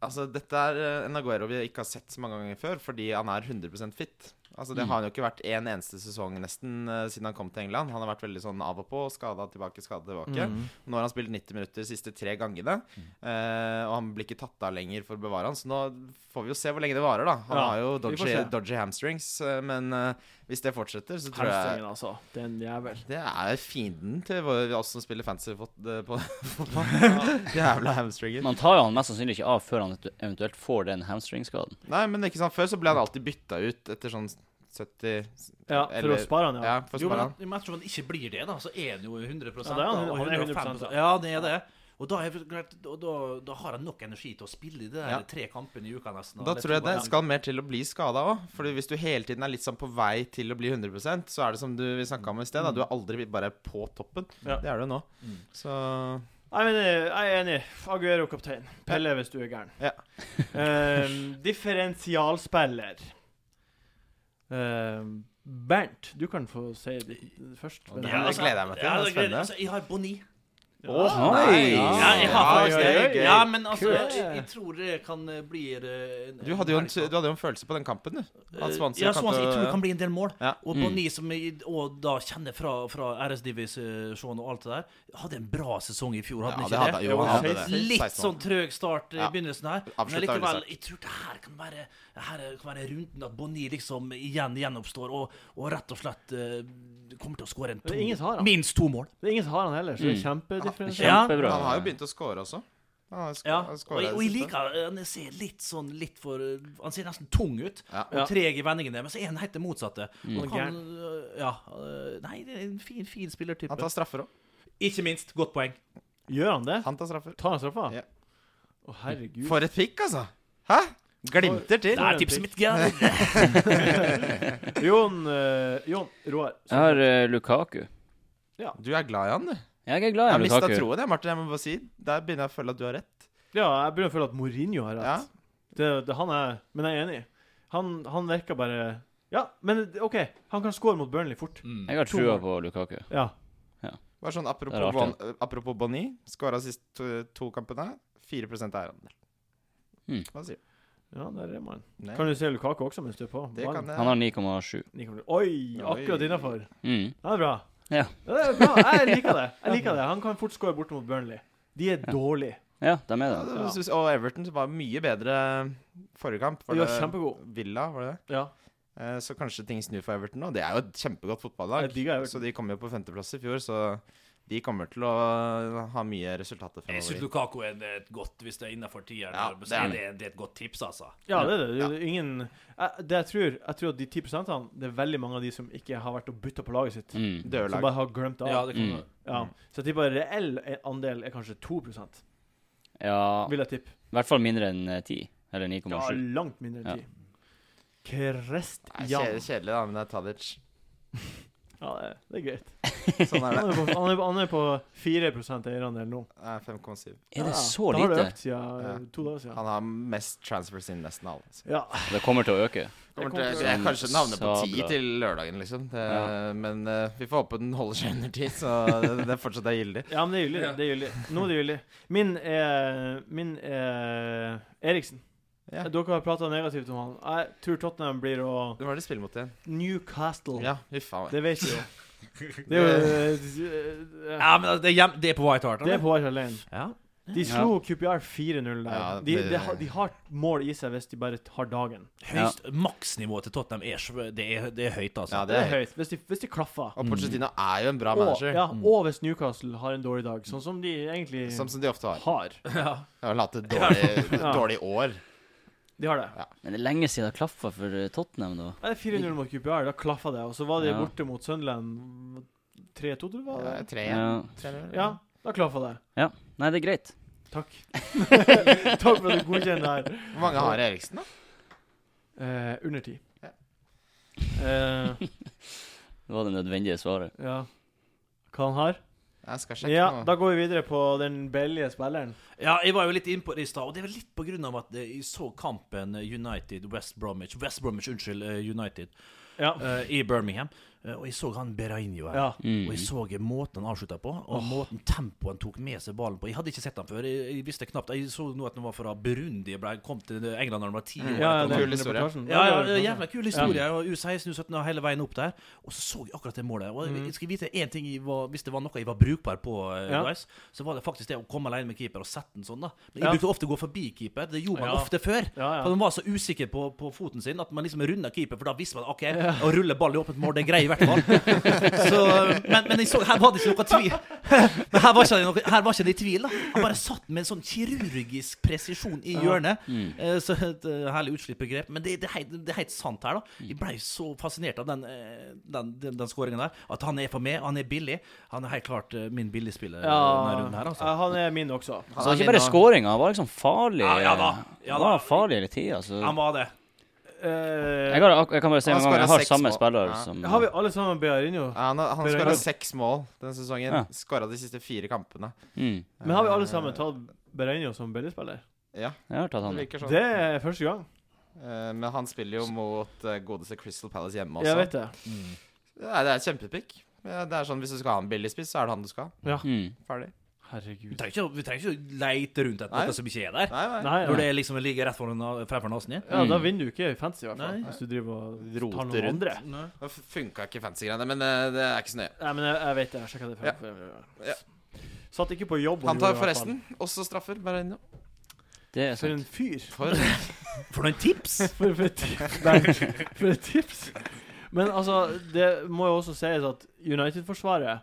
S2: Altså, dette er eh, en Aguero vi ikke har sett så mange ganger før, fordi han er 100 fit. Altså,
S1: Mm.
S2: Det har han jo ikke vært en eneste sesong nesten eh, siden han kom til England. Han har vært veldig sånn av og på, skada tilbake, skada
S1: Mm.
S2: tilbake. Nå har han spilt 90 minutter de siste tre gangene, eh, og han blir ikke tatt av lenger for å bevare han, så nå får vi jo se hvor lenge det varer, da. Han
S1: Ja,
S2: har jo
S1: vi får
S2: dodgy,
S1: se.
S2: dodgy hamstrings, eh, men eh, hvis det fortsetter, så tror jeg
S1: hamstringen, altså. Den jævel.
S2: det er fienden til vår- oss som spiller fancy fot- eh, på [laughs] fotball. Jævla hamstringer.
S3: Man tar jo han mest sannsynlig ikke av før han eventuelt får den hamstringskaden.
S2: Nei, men ikke sant, før så ble han alltid bytta ut etter sånn 70
S1: Ja, for
S2: eller-
S1: å spare han, ja.
S2: Ja, for å
S4: Jo,
S2: spare
S4: men
S2: han.
S4: i matcher han ikke blir det, da, så er han jo 100
S1: Ja, det er han-
S4: da, og
S1: han er
S4: 105%.
S1: 100%,
S4: Ja, det er det. Og da, er, det klart- og da, da har han nok energi til å spille i de der
S2: Ja.
S4: tre kampene i uka, nesten. og
S2: Da
S4: det
S2: tror jeg
S4: to-
S2: det skal mer til å bli skada òg. Fordi hvis du hele tiden er litt sånn på vei til å bli 100 så er det som du vi snakka om i sted, da. Du er aldri bare på toppen.
S1: Ja.
S2: Det er du nå.
S4: Mm.
S2: Så
S1: Nei, men eh, jeg er enig. Aguero kaptein. Pelle hvis du er gæren.
S2: [laughs] Ja.
S1: Ehm, differensialspiller. Ehm, Bernt, du kan få si det først.
S2: Ja, det gleder jeg meg til, det
S4: Ja,
S2: er
S4: det gleder jeg-
S2: spennende.
S4: altså, jeg har Boni.
S2: Åh,
S3: Ja,
S2: nei!
S4: Ja, jeg har
S2: Ja,
S4: faktisk
S2: det er
S4: det.
S2: gøy.
S4: Ja, men altså,
S1: Kult.
S4: jeg, jeg tror det kan eh, bli eh, en-
S2: Du hadde, jo en,
S4: helg, da.
S2: du hadde jo en følelse på den kampen, du. At Swansea
S4: Eh, ja,
S2: kan
S4: Swansea,
S2: til å-
S4: jeg tror det kan bli en del mål.
S2: Ja.
S4: Og
S3: Mm.
S4: Bonny, som jeg og da kjenner fra, fra RS-divisjonen og alt det der, hadde en bra sesong i fjor,
S2: Ja,
S4: hadde han
S2: det
S4: ikke
S2: hadde
S4: det?
S2: jo
S1: Jo,
S2: han. Hadde
S1: Chase-
S2: det.
S4: Litt
S2: 16
S4: sånn trøg start i
S2: Ja.
S4: begynnelsen her.
S2: Absolutt,
S4: Men
S2: det har du
S4: likevel,
S2: sagt.
S4: jeg tror det her kan være det her kan være runden at Bonny liksom igjen gjenoppstår og, og rett og slett eh, kommer til å skåre en
S1: Det er ingen som har
S4: to,
S1: han.
S4: minst to mål.
S1: Det er ingen som har han heller, så det er
S3: Mm.
S1: kjempedifferensiert.
S4: Ja,
S3: Kjempebra.
S2: Han har jo begynt å score også. Han har sk
S4: Ja,
S2: han
S4: og,
S2: scoret
S4: jeg-
S2: det
S4: og jeg
S2: siste.
S4: liker eh, Han ser litt sånn litt for Han ser nesten tung ut.
S2: Ja.
S1: Ja.
S4: Og treg i vendingene. Men så er han helt det motsatte.
S1: Og
S4: Han kan, øh, ja, øh, nei, det er en fin, fin spillertype.
S2: Han tar straffer òg.
S4: Ikke minst, godt poeng.
S1: Gjør han det?
S2: Han tar straffer.
S1: Tar han straffa? Å,
S2: Ja.
S1: herregud.
S2: For et pikk, altså! Hæ? Glimter til.
S4: Det er tipset mitt. Geir.
S1: Jon, eh, Jon Roar.
S3: Jeg har eh, Lukaku.
S2: Du er glad i han, du.
S3: Jeg er glad
S2: Jeg
S3: i
S2: mista
S3: Lukaku.
S2: troen, jeg, Martin. Jeg må bare si Der begynner jeg å føle at du har rett.
S1: Ja, jeg begynner å føle at Mourinho har rett. Det, det, han er, men jeg er enig. Han, han virker bare Ja, men OK, han kan score mot Burnley fort.
S4: Mm.
S3: Jeg har
S1: To
S3: trua
S1: mål.
S3: på Lukaku.
S1: Ja.
S2: Bare sånn apropos,
S3: Det er
S2: bon,
S3: rart,
S2: eh, apropos Bonny. Skåra sist to, to kampene. 4 eierandel.
S3: Mm.
S2: Hva sier du?
S1: ja, der er man.
S2: Nei,
S1: Kan du se Lukaku også mens du er på?
S2: det
S1: Ballen.
S2: kan jeg.
S3: Han har 9,7.
S1: Nicolai- Oi, akkurat
S2: Oi.
S1: innafor.
S3: Mm.
S1: Ja, det er bra.
S3: Ja.
S1: det er bra. Jeg liker det. Jeg liker det. Han kan fort score borte mot Burnley. De er dårlige.
S3: Ja, de er
S2: Ja,
S3: det.
S2: det var- synes- Og Everton som var mye bedre forrige kamp. Var
S1: De var
S2: det
S1: kjempegode.
S2: Villa, var det det?
S1: Ja.
S2: Eh, Så kanskje ting snur for Everton nå. Det er jo et kjempegodt fotballag.
S1: Jeg digger Everton.
S2: Så de kom jo på femteplass i fjor, så de kommer til å ha mye resultater
S4: Jeg syns
S2: fremover.
S4: Lukako er en- et godt hvis det er innafor tieren.
S2: Ja,
S4: så
S2: det er
S4: er
S2: det.
S4: det, det er et godt tips, altså.
S1: ja, det er det. det er ingen jeg, Det jeg tror, jeg tror at de 10 det er veldig mange av de som ikke har vært og bytta på laget sitt.
S3: Mm.
S1: Som
S2: Dørlag.
S1: bare har glemt av.
S4: Ja, det kan
S3: Mm.
S1: Ja. Så jeg tipper reell andel er kanskje 2
S3: Ja,
S1: vil jeg tippe.
S3: i hvert fall mindre enn eh, 10. Eller
S1: Ja,
S3: 9,7.
S1: langt mindre
S3: Ja.
S1: enn 10. Krestian.
S2: Nei,
S1: Ja,
S2: kjedelig, kjedelig, da, men det er Tadic.
S1: det, det er greit.
S2: Sånn er det.
S1: [laughs] Han er på, han er, han er på 4 eierandel nå.
S2: Nei, 5,7.
S3: Er det
S1: Ja,
S3: så
S1: Da har det
S3: lite?
S1: økt siden eh, to dager siden.
S2: Han har mest transfers inn nesten alle. altså. Så.
S1: Ja.
S3: Det kommer til å øke.
S1: Jeg kommer
S2: Kommer til,
S1: til å-
S2: jeg kanskje den havner på ti
S3: Sabla.
S2: til lørdagen, liksom. Det,
S3: Ja.
S2: Men eh, vi får håpe den holder seg under ti, så det, det fortsatt er gyldig.
S1: Ja, men det er gyldig. det. Det er gyldig. Nå er det gyldig. Min er, min er Eriksen.
S2: Ja.
S1: Dere har prata negativt om han. Jeg tror Tottenham blir å
S2: Hvem var det de spiller mot igjen?
S1: Newcastle.
S2: Ja, huff a meg.
S1: Oh. Det vet vi
S2: [laughs]
S1: jo. Det er jo eh,
S4: Ja, men altså, det, er hjem, det er på White Hart?
S1: Det er
S4: eller?
S1: på Arsenal alene.
S4: Ja.
S1: De slo QPR 4-0 der.
S2: Ja,
S1: de,
S2: det-
S1: de, har- de har mål i seg hvis de bare har dagen.
S4: Høyst, Maksnivået til Tottenham er, sv- det er, det er høyt, altså.
S2: Ja,
S1: Det er
S2: høyt.
S1: høyt. Hvis de, hvis de klaffer.
S2: Og Pochettino er jo en bra
S1: Og,
S2: manager,
S1: ja, og hvis Newcastle har en dårlig dag, sånn som de egentlig
S2: sånn som de ofte har.
S1: har.
S2: Jeg har hatt et dårlig,
S1: Ja.
S2: dårlig år.
S1: De har det.
S3: Men det er lenge siden det har klaffa for eh, Tottenham, da.
S1: Ja, det er 4-0 mot QPR, da klaffa det. Og så var de
S3: Ja.
S1: borte mot Sunderland 3-2, tror jeg det var
S2: Ja,
S1: det
S2: Eh, Tre,
S3: Ja.
S2: tre
S1: Ja, da klaffa det.
S3: Nei, det er greit.
S1: Takk. [laughs] Takk for at du godkjenner det her.
S2: Hvor mange har Eriksen, da?
S1: Eh, under ti.
S2: Ja.
S1: Eh,
S3: Det var det nødvendige svaret.
S1: ja. Hva han har?
S2: Jeg skal sjekke
S1: Ja,
S2: nå.
S1: da går vi videre på den billige spilleren.
S4: Ja, jeg var jo litt innpå det i stad, og det er vel litt på grunn av at eh, jeg så kampen eh, United West Bromwich West Bromwich, unnskyld, eh, United
S1: Ja.
S4: eh, i Birmingham, eh, og jeg så han Berainio her.
S1: ja.
S4: Og jeg så måten han avslutta på, og måten tempoet han tok med seg ballen på. Jeg hadde ikke sett han før. Jeg, jeg visste knapt Jeg så nå at han var fra Burundi og ble- kom til England da han var ti år.
S1: Ja,
S4: etter
S1: den
S2: Kul historie.
S1: reportasjen.
S4: ja, ja,
S1: Sånn, det er
S4: jævla kul historie. og U16, U17 og hele veien opp der. Og så så jeg akkurat det målet. Og jeg skal vite en ting jeg var, Hvis det var noe jeg var brukbar på, eh,
S1: Mm. Ja.
S4: guys, så var det faktisk det å komme alene med keeper og sette den sånn. da Men
S1: Ja.
S4: Jeg brukte ofte å gå forbi keeper. Det gjorde man
S1: Ja.
S4: ofte før.
S1: Ja, ja.
S4: For man var så usikker på, på foten sin at man liksom runda keeper, for da visste man OK, å rulle ball i åpent mål, det er grei i hvert fall. [laughs] så, men, men jeg så, her var det ikke noe tvil. [laughs] Men her var ikke noe, her var ikke det i tvil. da Han bare satt med en sånn kirurgisk presisjon i hjørnet. Eh, Så et eh, herlig utslitt begrep. Men det, det, er helt, det er helt sant her, da. Jeg blei så fascinert av den, eh, den, den, den skåringen der. At han er for meg, han er billig. Han er helt klart eh, min billigspiller eh, denne runden her, altså.
S1: Ja, han er min også.
S3: Så det var ikke
S2: min
S3: bare
S2: nå.
S3: skåringa, han var liksom farlig.
S4: Ja, ja da. Ja
S3: han
S4: da.
S3: var farlig hele tida. Så
S4: Han var det.
S1: Eh,
S3: jeg, har, ak- jeg kan bare si
S2: Han
S3: med en gang,
S2: skåret
S3: jeg har
S2: seks
S3: samme
S2: mål.
S3: spiller
S2: Ja.
S3: som
S1: har vi alle sammen Bearinho?
S2: Ja, han har- han
S1: Pereira.
S2: skåra seks mål denne sesongen.
S3: Ja.
S2: Skåra de siste fire kampene.
S3: mm,
S1: Men har vi alle sammen tatt Bearinho som billigspiller?
S2: Ja,
S3: Jeg har tatt
S2: det
S3: han.
S2: virker sånn.
S1: Det er første gang.
S2: Eh, Men han spiller jo mot eh, godeste Crystal Palace hjemme også.
S1: Jeg vet det.
S2: Ja, det er et kjempepick. Ja, Det er sånn, Hvis du skal ha en billig spiss, så er det han du skal ha.
S3: Mm.
S2: Ferdig.
S1: Herregud.
S4: Vi trenger ikke, vi trenger ikke å leite rundt etter
S2: Nei.
S4: noe som ikke er der.
S2: Nei, nei.
S1: Nei,
S4: Når
S1: nei.
S4: det liksom ligger rett foran, fremfor nesen din.
S1: Ja, da
S3: Mm.
S1: vinner du ikke i fantasy, i hvert fall.
S4: Nei.
S1: Hvis du driver og
S2: Roter
S1: tar noen
S2: rundt.
S1: andre.
S2: Nå funka ikke fancy-greiene, men eh, det er ikke så nøye.
S1: Nei, men jeg, jeg vet det. Jeg sjekka det før.
S2: Ja.
S1: Satt ikke på jobb. og
S2: Han
S1: gjorde
S2: tar
S1: det, i hvert fall.
S2: forresten også straffer. Bare innom.
S3: Det er
S1: For
S3: sant.
S1: en fyr.
S2: For
S4: For noen tips!
S1: For, for, et, [laughs] tips. Nei, for et tips. Men altså, det må jo også sies at United-forsvaret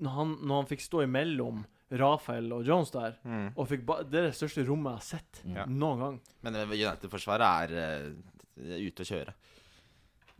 S1: når han, når han fikk stå imellom Rafael og Jones der
S2: mm.
S1: og fikk ba Det er det største rommet jeg har sett
S2: Ja.
S1: noen gang.
S2: Men eh, United-forsvaret er eh, ute å kjøre.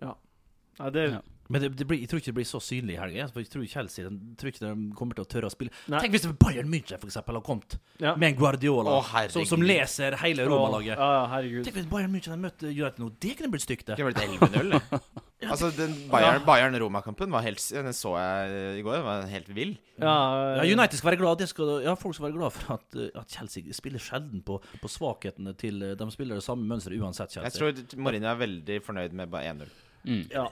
S1: Nei, det,
S3: Ja.
S4: [laughs] Men det, det blir, jeg tror ikke det blir så synlig i helga. For jeg tror Chelsea den, tror ikke de kommer til å tørre å spille.
S1: Nei.
S4: Tenk hvis det var Bayern München for eksempel, har kommet
S1: Ja.
S4: med en Guardiola
S2: Å, herregud.
S4: Sånn som, som leser hele Roma-laget.
S1: Ja, ja, herregud.
S4: Tenk hvis Bayern München hadde møtt United nå. Det kunne blitt stygt, det.
S2: Det kunne blitt 11-0. det. Altså, den Bayern- Bayern-Roma-kampen var helt s- Den så jeg i går. Den var helt vill.
S1: Ja,
S4: Ja, United skal være glad det skal, ja, folk skal være glad for at, eh, at Chelsea spiller sjelden på, på svakhetene til eh, De spiller det samme mønsteret uansett,
S2: Jeg
S4: Chelsea.
S2: tror Mourinho er veldig fornøyd med bare 1-0.
S3: Mm.
S1: Ja.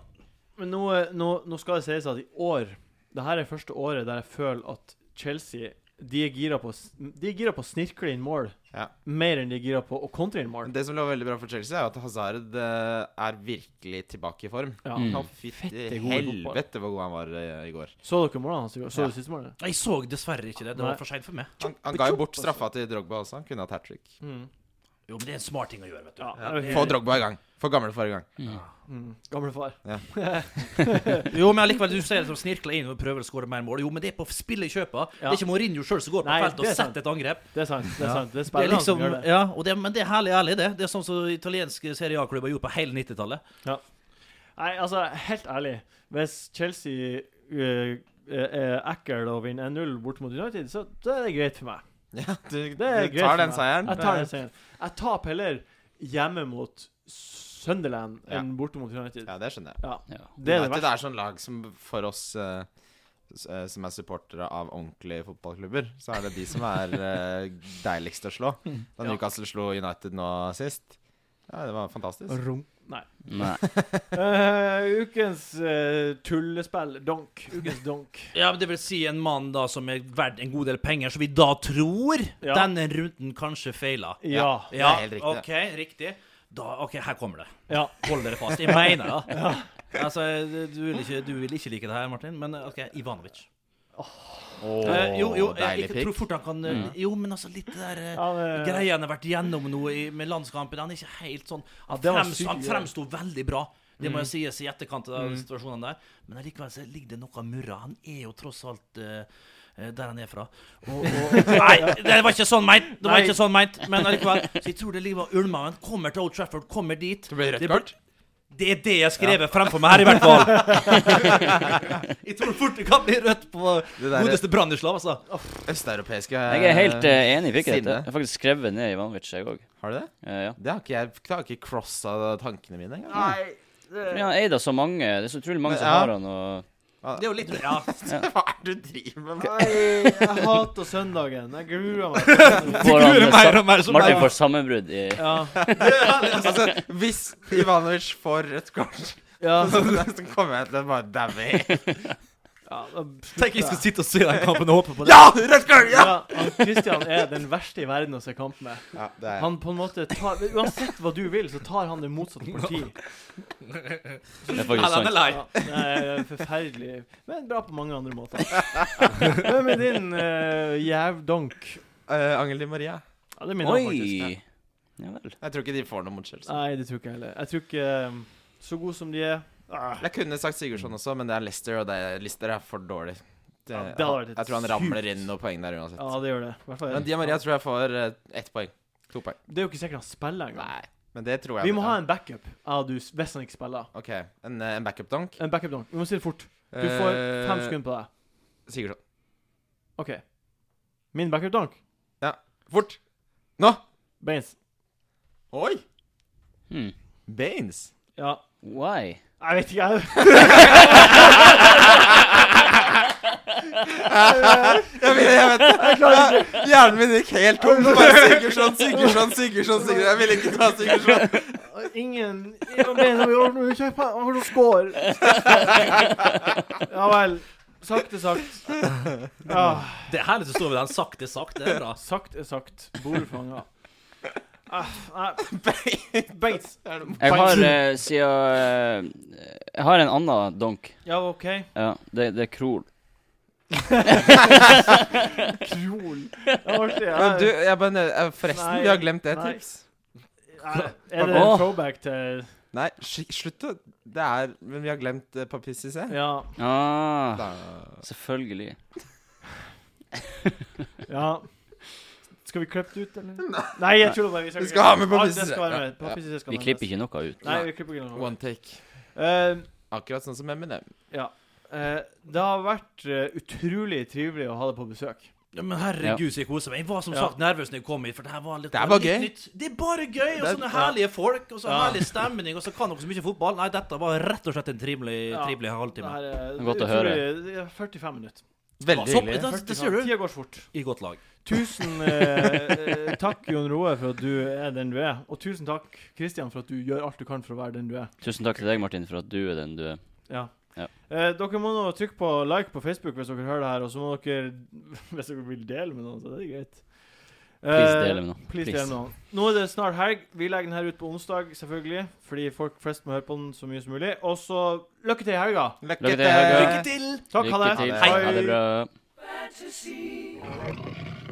S1: Men nå, nå, nå skal det sies at i år Det her er første året der jeg føler at Chelsea De er gira på, s- de er gira på å snirkle inn mål
S2: Ja.
S1: mer enn de er gira på å kontre inn
S2: Men
S1: mål.
S2: Det som lå veldig bra for Chelsea, er jo at Hazard eh, er virkelig tilbake i form.
S1: Ja.
S3: Mm.
S2: Han fikk
S1: Fette god i fotball.
S2: helvete hvor god han var eh, i går.
S1: Så dere målene hans? i går? Så
S2: Ja.
S1: du siste målet?
S4: Jeg så dessverre ikke det. Det
S1: Nei.
S4: var for seint for meg.
S2: Han, han ga jo bort
S1: altså.
S2: straffa til Drogba også. Han kunne hatt hat trick.
S1: Mm.
S4: Jo, men det er en smart ting å gjøre, vet du.
S1: Ja.
S2: Få Drogba i gang. Få gamle forrige gang.
S1: Mm. Gamle far.
S4: Jo, men allikevel, du ser det som snirkler inn og prøver å skåre mer mål. Jo, men det er på spillet i kjøpa. Det
S1: Ja.
S4: er ikke Mourinho sjøl som går på
S1: Nei,
S4: feltet
S1: det
S4: og
S1: er sant.
S4: setter et angrep.
S1: Det er sant. Det er
S4: Ja.
S1: sant. Det er
S4: Det er
S1: spillerne
S4: liksom,
S1: som gjør det.
S4: ja, og det, men det er herlig ærlig, det. Det er sånn som italienske Serie A-klubber gjorde på hele 90-tallet.
S1: Nei, altså, helt ærlig. Hvis Chelsea øh, er ekkel og vinner 1-0 bort mot United, så, så er det greit for meg.
S2: [laughs] Ja, du, du
S1: Det er greit
S2: tar
S1: for
S2: den
S1: meg.
S2: seieren.
S1: Jeg tar den seieren. Jeg taper heller hjemme mot Sunderland
S2: Ja.
S1: enn borte mot United.
S2: Ja, det skjønner jeg.
S3: Ja.
S1: Det er det
S2: United
S1: verste.
S2: er sånn lag som for oss eh, s- eh, som er supportere av ordentlige fotballklubber, så er det de som
S1: [laughs]
S2: er eh, deiligst å slå. Da Newcastle slo United nå sist, ja, det var fantastisk.
S1: Rom- Nei.
S3: Nei.
S1: Eh, ukens eh, tullespill, donk. Ukens donk.
S4: Ja, men Det vil si en mann da som er verdt en god del penger, som vi da tror
S1: Ja.
S4: denne runden kanskje feila.
S1: Ja.
S2: Det er helt riktig, det.
S4: OK, riktig. Da, OK, her kommer det.
S1: Ja.
S4: Hold dere fast. Jeg mener [laughs] det. Altså, du vil, ikke, du vil ikke like det her, Martin, men OK, Ivanovic. Eh, jo, jo, jeg,
S2: deilig
S4: jeg tror
S2: pikk.
S4: fort han kan eh, Jo, men altså, litt det der eh,
S1: Ja, det-
S4: greia han har vært gjennom nå i, med landskampen Han er ikke helt sånn Han,
S1: det var
S4: frems,
S1: sykt,
S4: han
S1: ja.
S4: fremsto veldig bra. Det må jo sies i etterkant av situasjonen der. Men allikevel så ligger det noe murra. Han er jo tross alt eh, eh, der han er fra. Og, [laughs] og, nei, det var ikke sånn meint! Det var
S1: Nei.
S4: ikke sånn meint Men allikevel. Så jeg tror det ligger og ulmer. Han kommer til Old Trafford, kommer dit.
S2: Det blir rødt
S4: blir-
S2: kort.
S4: det er det jeg har skrevet fremfor meg her, i hvert fall. [laughs] jeg tror fort det kan bli rødt på
S2: Det der-
S4: godeste Branislav, altså.
S2: Østeuropeiske
S3: Jeg er helt eh, enig i Pikke.
S2: Sinne.
S3: dette. Jeg har faktisk skrevet ned Ivanovic, jeg òg.
S2: Har du det?
S3: Eh, ja.
S2: Det har ikke jeg Jeg har ikke crossa tankene mine engang.
S3: Fordi han eier da så mange. Det er så utrolig mange som
S2: Ja.
S3: har han. Og...
S4: Det er jo litt Ja,
S2: Hva er det du driver med? nå?
S1: Nei, jeg hater søndagen. Jeg gruer meg.
S3: Får han, eh,
S4: mer
S3: sa-
S4: og mer som
S3: Martin får sammenbrudd i
S1: Ja.
S2: [laughs] Altså, hvis Ivanovic får rødt kort,
S1: ja.
S2: så, så kommer jeg til å bare daue helt.
S1: ja.
S4: Tenk jeg skal sitte og se den kampen og håpe på det.
S2: [laughs] Ja! Rødt kort! Ja!
S1: Ja, han Christian er den verste i verden å se kamp med.
S2: ja det er.
S1: Han på en måte tar Uansett hva du vil, så tar han det motsatte parti.
S3: Det er faktisk sant.
S4: lei.
S1: Ja, det er forferdelig. Men bra på mange andre måter. Hvem er din uh, jævdonk?
S2: Eh, Angel Di Maria.
S1: Ja, det er min, faktisk.
S3: Oi! Ja vel.
S2: Jeg tror ikke de får noe mot Chelsea.
S1: Nei, det tror ikke jeg heller. Jeg tror ikke um, Så god som de er ah,
S2: Jeg kunne sagt Sigurdsson også, men det er Leicester, og det er, Leicester er for dårlig. Det,
S1: Ja, det hadde vært et
S2: jeg tror han
S1: sykt-
S2: ramler inn noen poeng der uansett.
S1: Ja, det gjør det. I hvert fall.
S2: Men Di Maria tror jeg får eh, ett poeng. To poeng.
S1: Det er jo ikke sikkert han spiller engang.
S2: Nei, men det tror jeg
S1: Vi må ha en backup ah, du, hvis han ikke spiller.
S2: OK, en, eh, en backup-donk.
S1: En backup donk. Vi må si det fort. Du får
S2: Eh.
S1: fem sekunder på deg.
S2: Sigurdsson.
S1: OK. Min backup donk?
S2: Fort! Nå!
S1: Baines.
S2: Oi!
S3: Hmm.
S2: Baines.
S1: [laughs] Ja.
S3: Why?
S1: Jeg vet ikke, jeg.
S2: Jeg vet, jeg vet det. Ja, Hjernen min gikk helt tom. Bare Sigurdsson, Sigurdsson, Sigurdsson. Sigurdsson. Jeg ville ikke ta
S1: [laughs]
S2: Sigurdsson.
S1: Ingen Hvordan score? Ja vel. Sakte, sagt. Ja,
S4: Det er herlig å stå ved den sakte, sakte. Det er bra.
S1: sagt er sagt. Ah, Bor fanga. Bates.
S3: Jeg har eh, siden eh, Jeg har en annen donk.
S1: Ja, OK.
S3: Ja, det, det er Krol.
S1: Krol. Det var artig.
S2: Men du,
S1: ja.
S2: jeg bare, nød- eh, forresten,
S1: Nei,
S2: vi har glemt det
S1: nei.
S2: tips.
S1: Ja, Er det
S3: Åh.
S1: en throwback til
S2: Nei, sk- slutt å Det er Men vi har glemt uh, Papissi C.
S1: Ja.
S3: Ah,
S2: Da.
S3: selvfølgelig.
S1: ja. Skal vi klippe det ut, eller? Nei, jeg tuller bare.
S2: Vi skal ha med
S1: Alt
S2: Papissi
S1: det skal være
S2: C.
S1: med. Papissi C skal
S3: Vi
S1: være med.
S3: klipper ikke noe ut.
S1: Nei, vi klipper ikke noe.
S2: One take.
S1: Eh,
S2: Akkurat sånn som Eminem.
S1: Ja. Eh, det har vært eh, utrolig trivelig å ha deg på besøk.
S4: Ja, men herregud, så jeg koser meg. Jeg var som
S1: Ja.
S4: sagt nervøs når jeg kom hit, for det her var litt
S2: Det er bare
S4: litt
S2: gøy.
S4: nytt. Det er bare gøy! Og
S2: Det-
S4: sånne herlige folk, og så
S1: Ja.
S4: herlig stemning, og så kan dere så mye fotball. Nei, dette var rett og slett en trivelig,
S1: Ja.
S4: trivelig halvtime.
S1: Det her er
S3: er godt å
S1: utrolig- det er 45 minutter.
S2: Veldig
S4: Så-
S2: hyggelig.
S4: det, det ser du.
S1: Tida går fort.
S4: I godt lag.
S1: Tusen eh, eh, takk, Jon Roe, for at du er den du er. Og tusen takk, Kristian, for at du gjør alt du kan for å være den du er.
S3: Tusen takk til deg, Martin, for at du er den du er.
S1: Ja.
S3: Ja.
S1: Eh, dere må nå trykke på like på Facebook hvis dere hører det her, og så må dere [laughs] Hvis dere vil dele med noen, så er det greit.
S3: Please,
S1: Eh,
S3: del med noen.
S1: Please,
S3: Please.
S1: del med noen. Nå er det snart helg. Vi legger den her ut på onsdag, selvfølgelig. Fordi folk flest må høre på den så mye som mulig. Og så lykke til i helga!
S2: Lykke
S3: Lykke til,
S1: Eh,
S2: til.
S3: Helga.
S4: Lykke til!
S1: Takk, ha
S3: Lykke
S1: det.
S3: til.
S2: Hei.
S3: Ha det bra.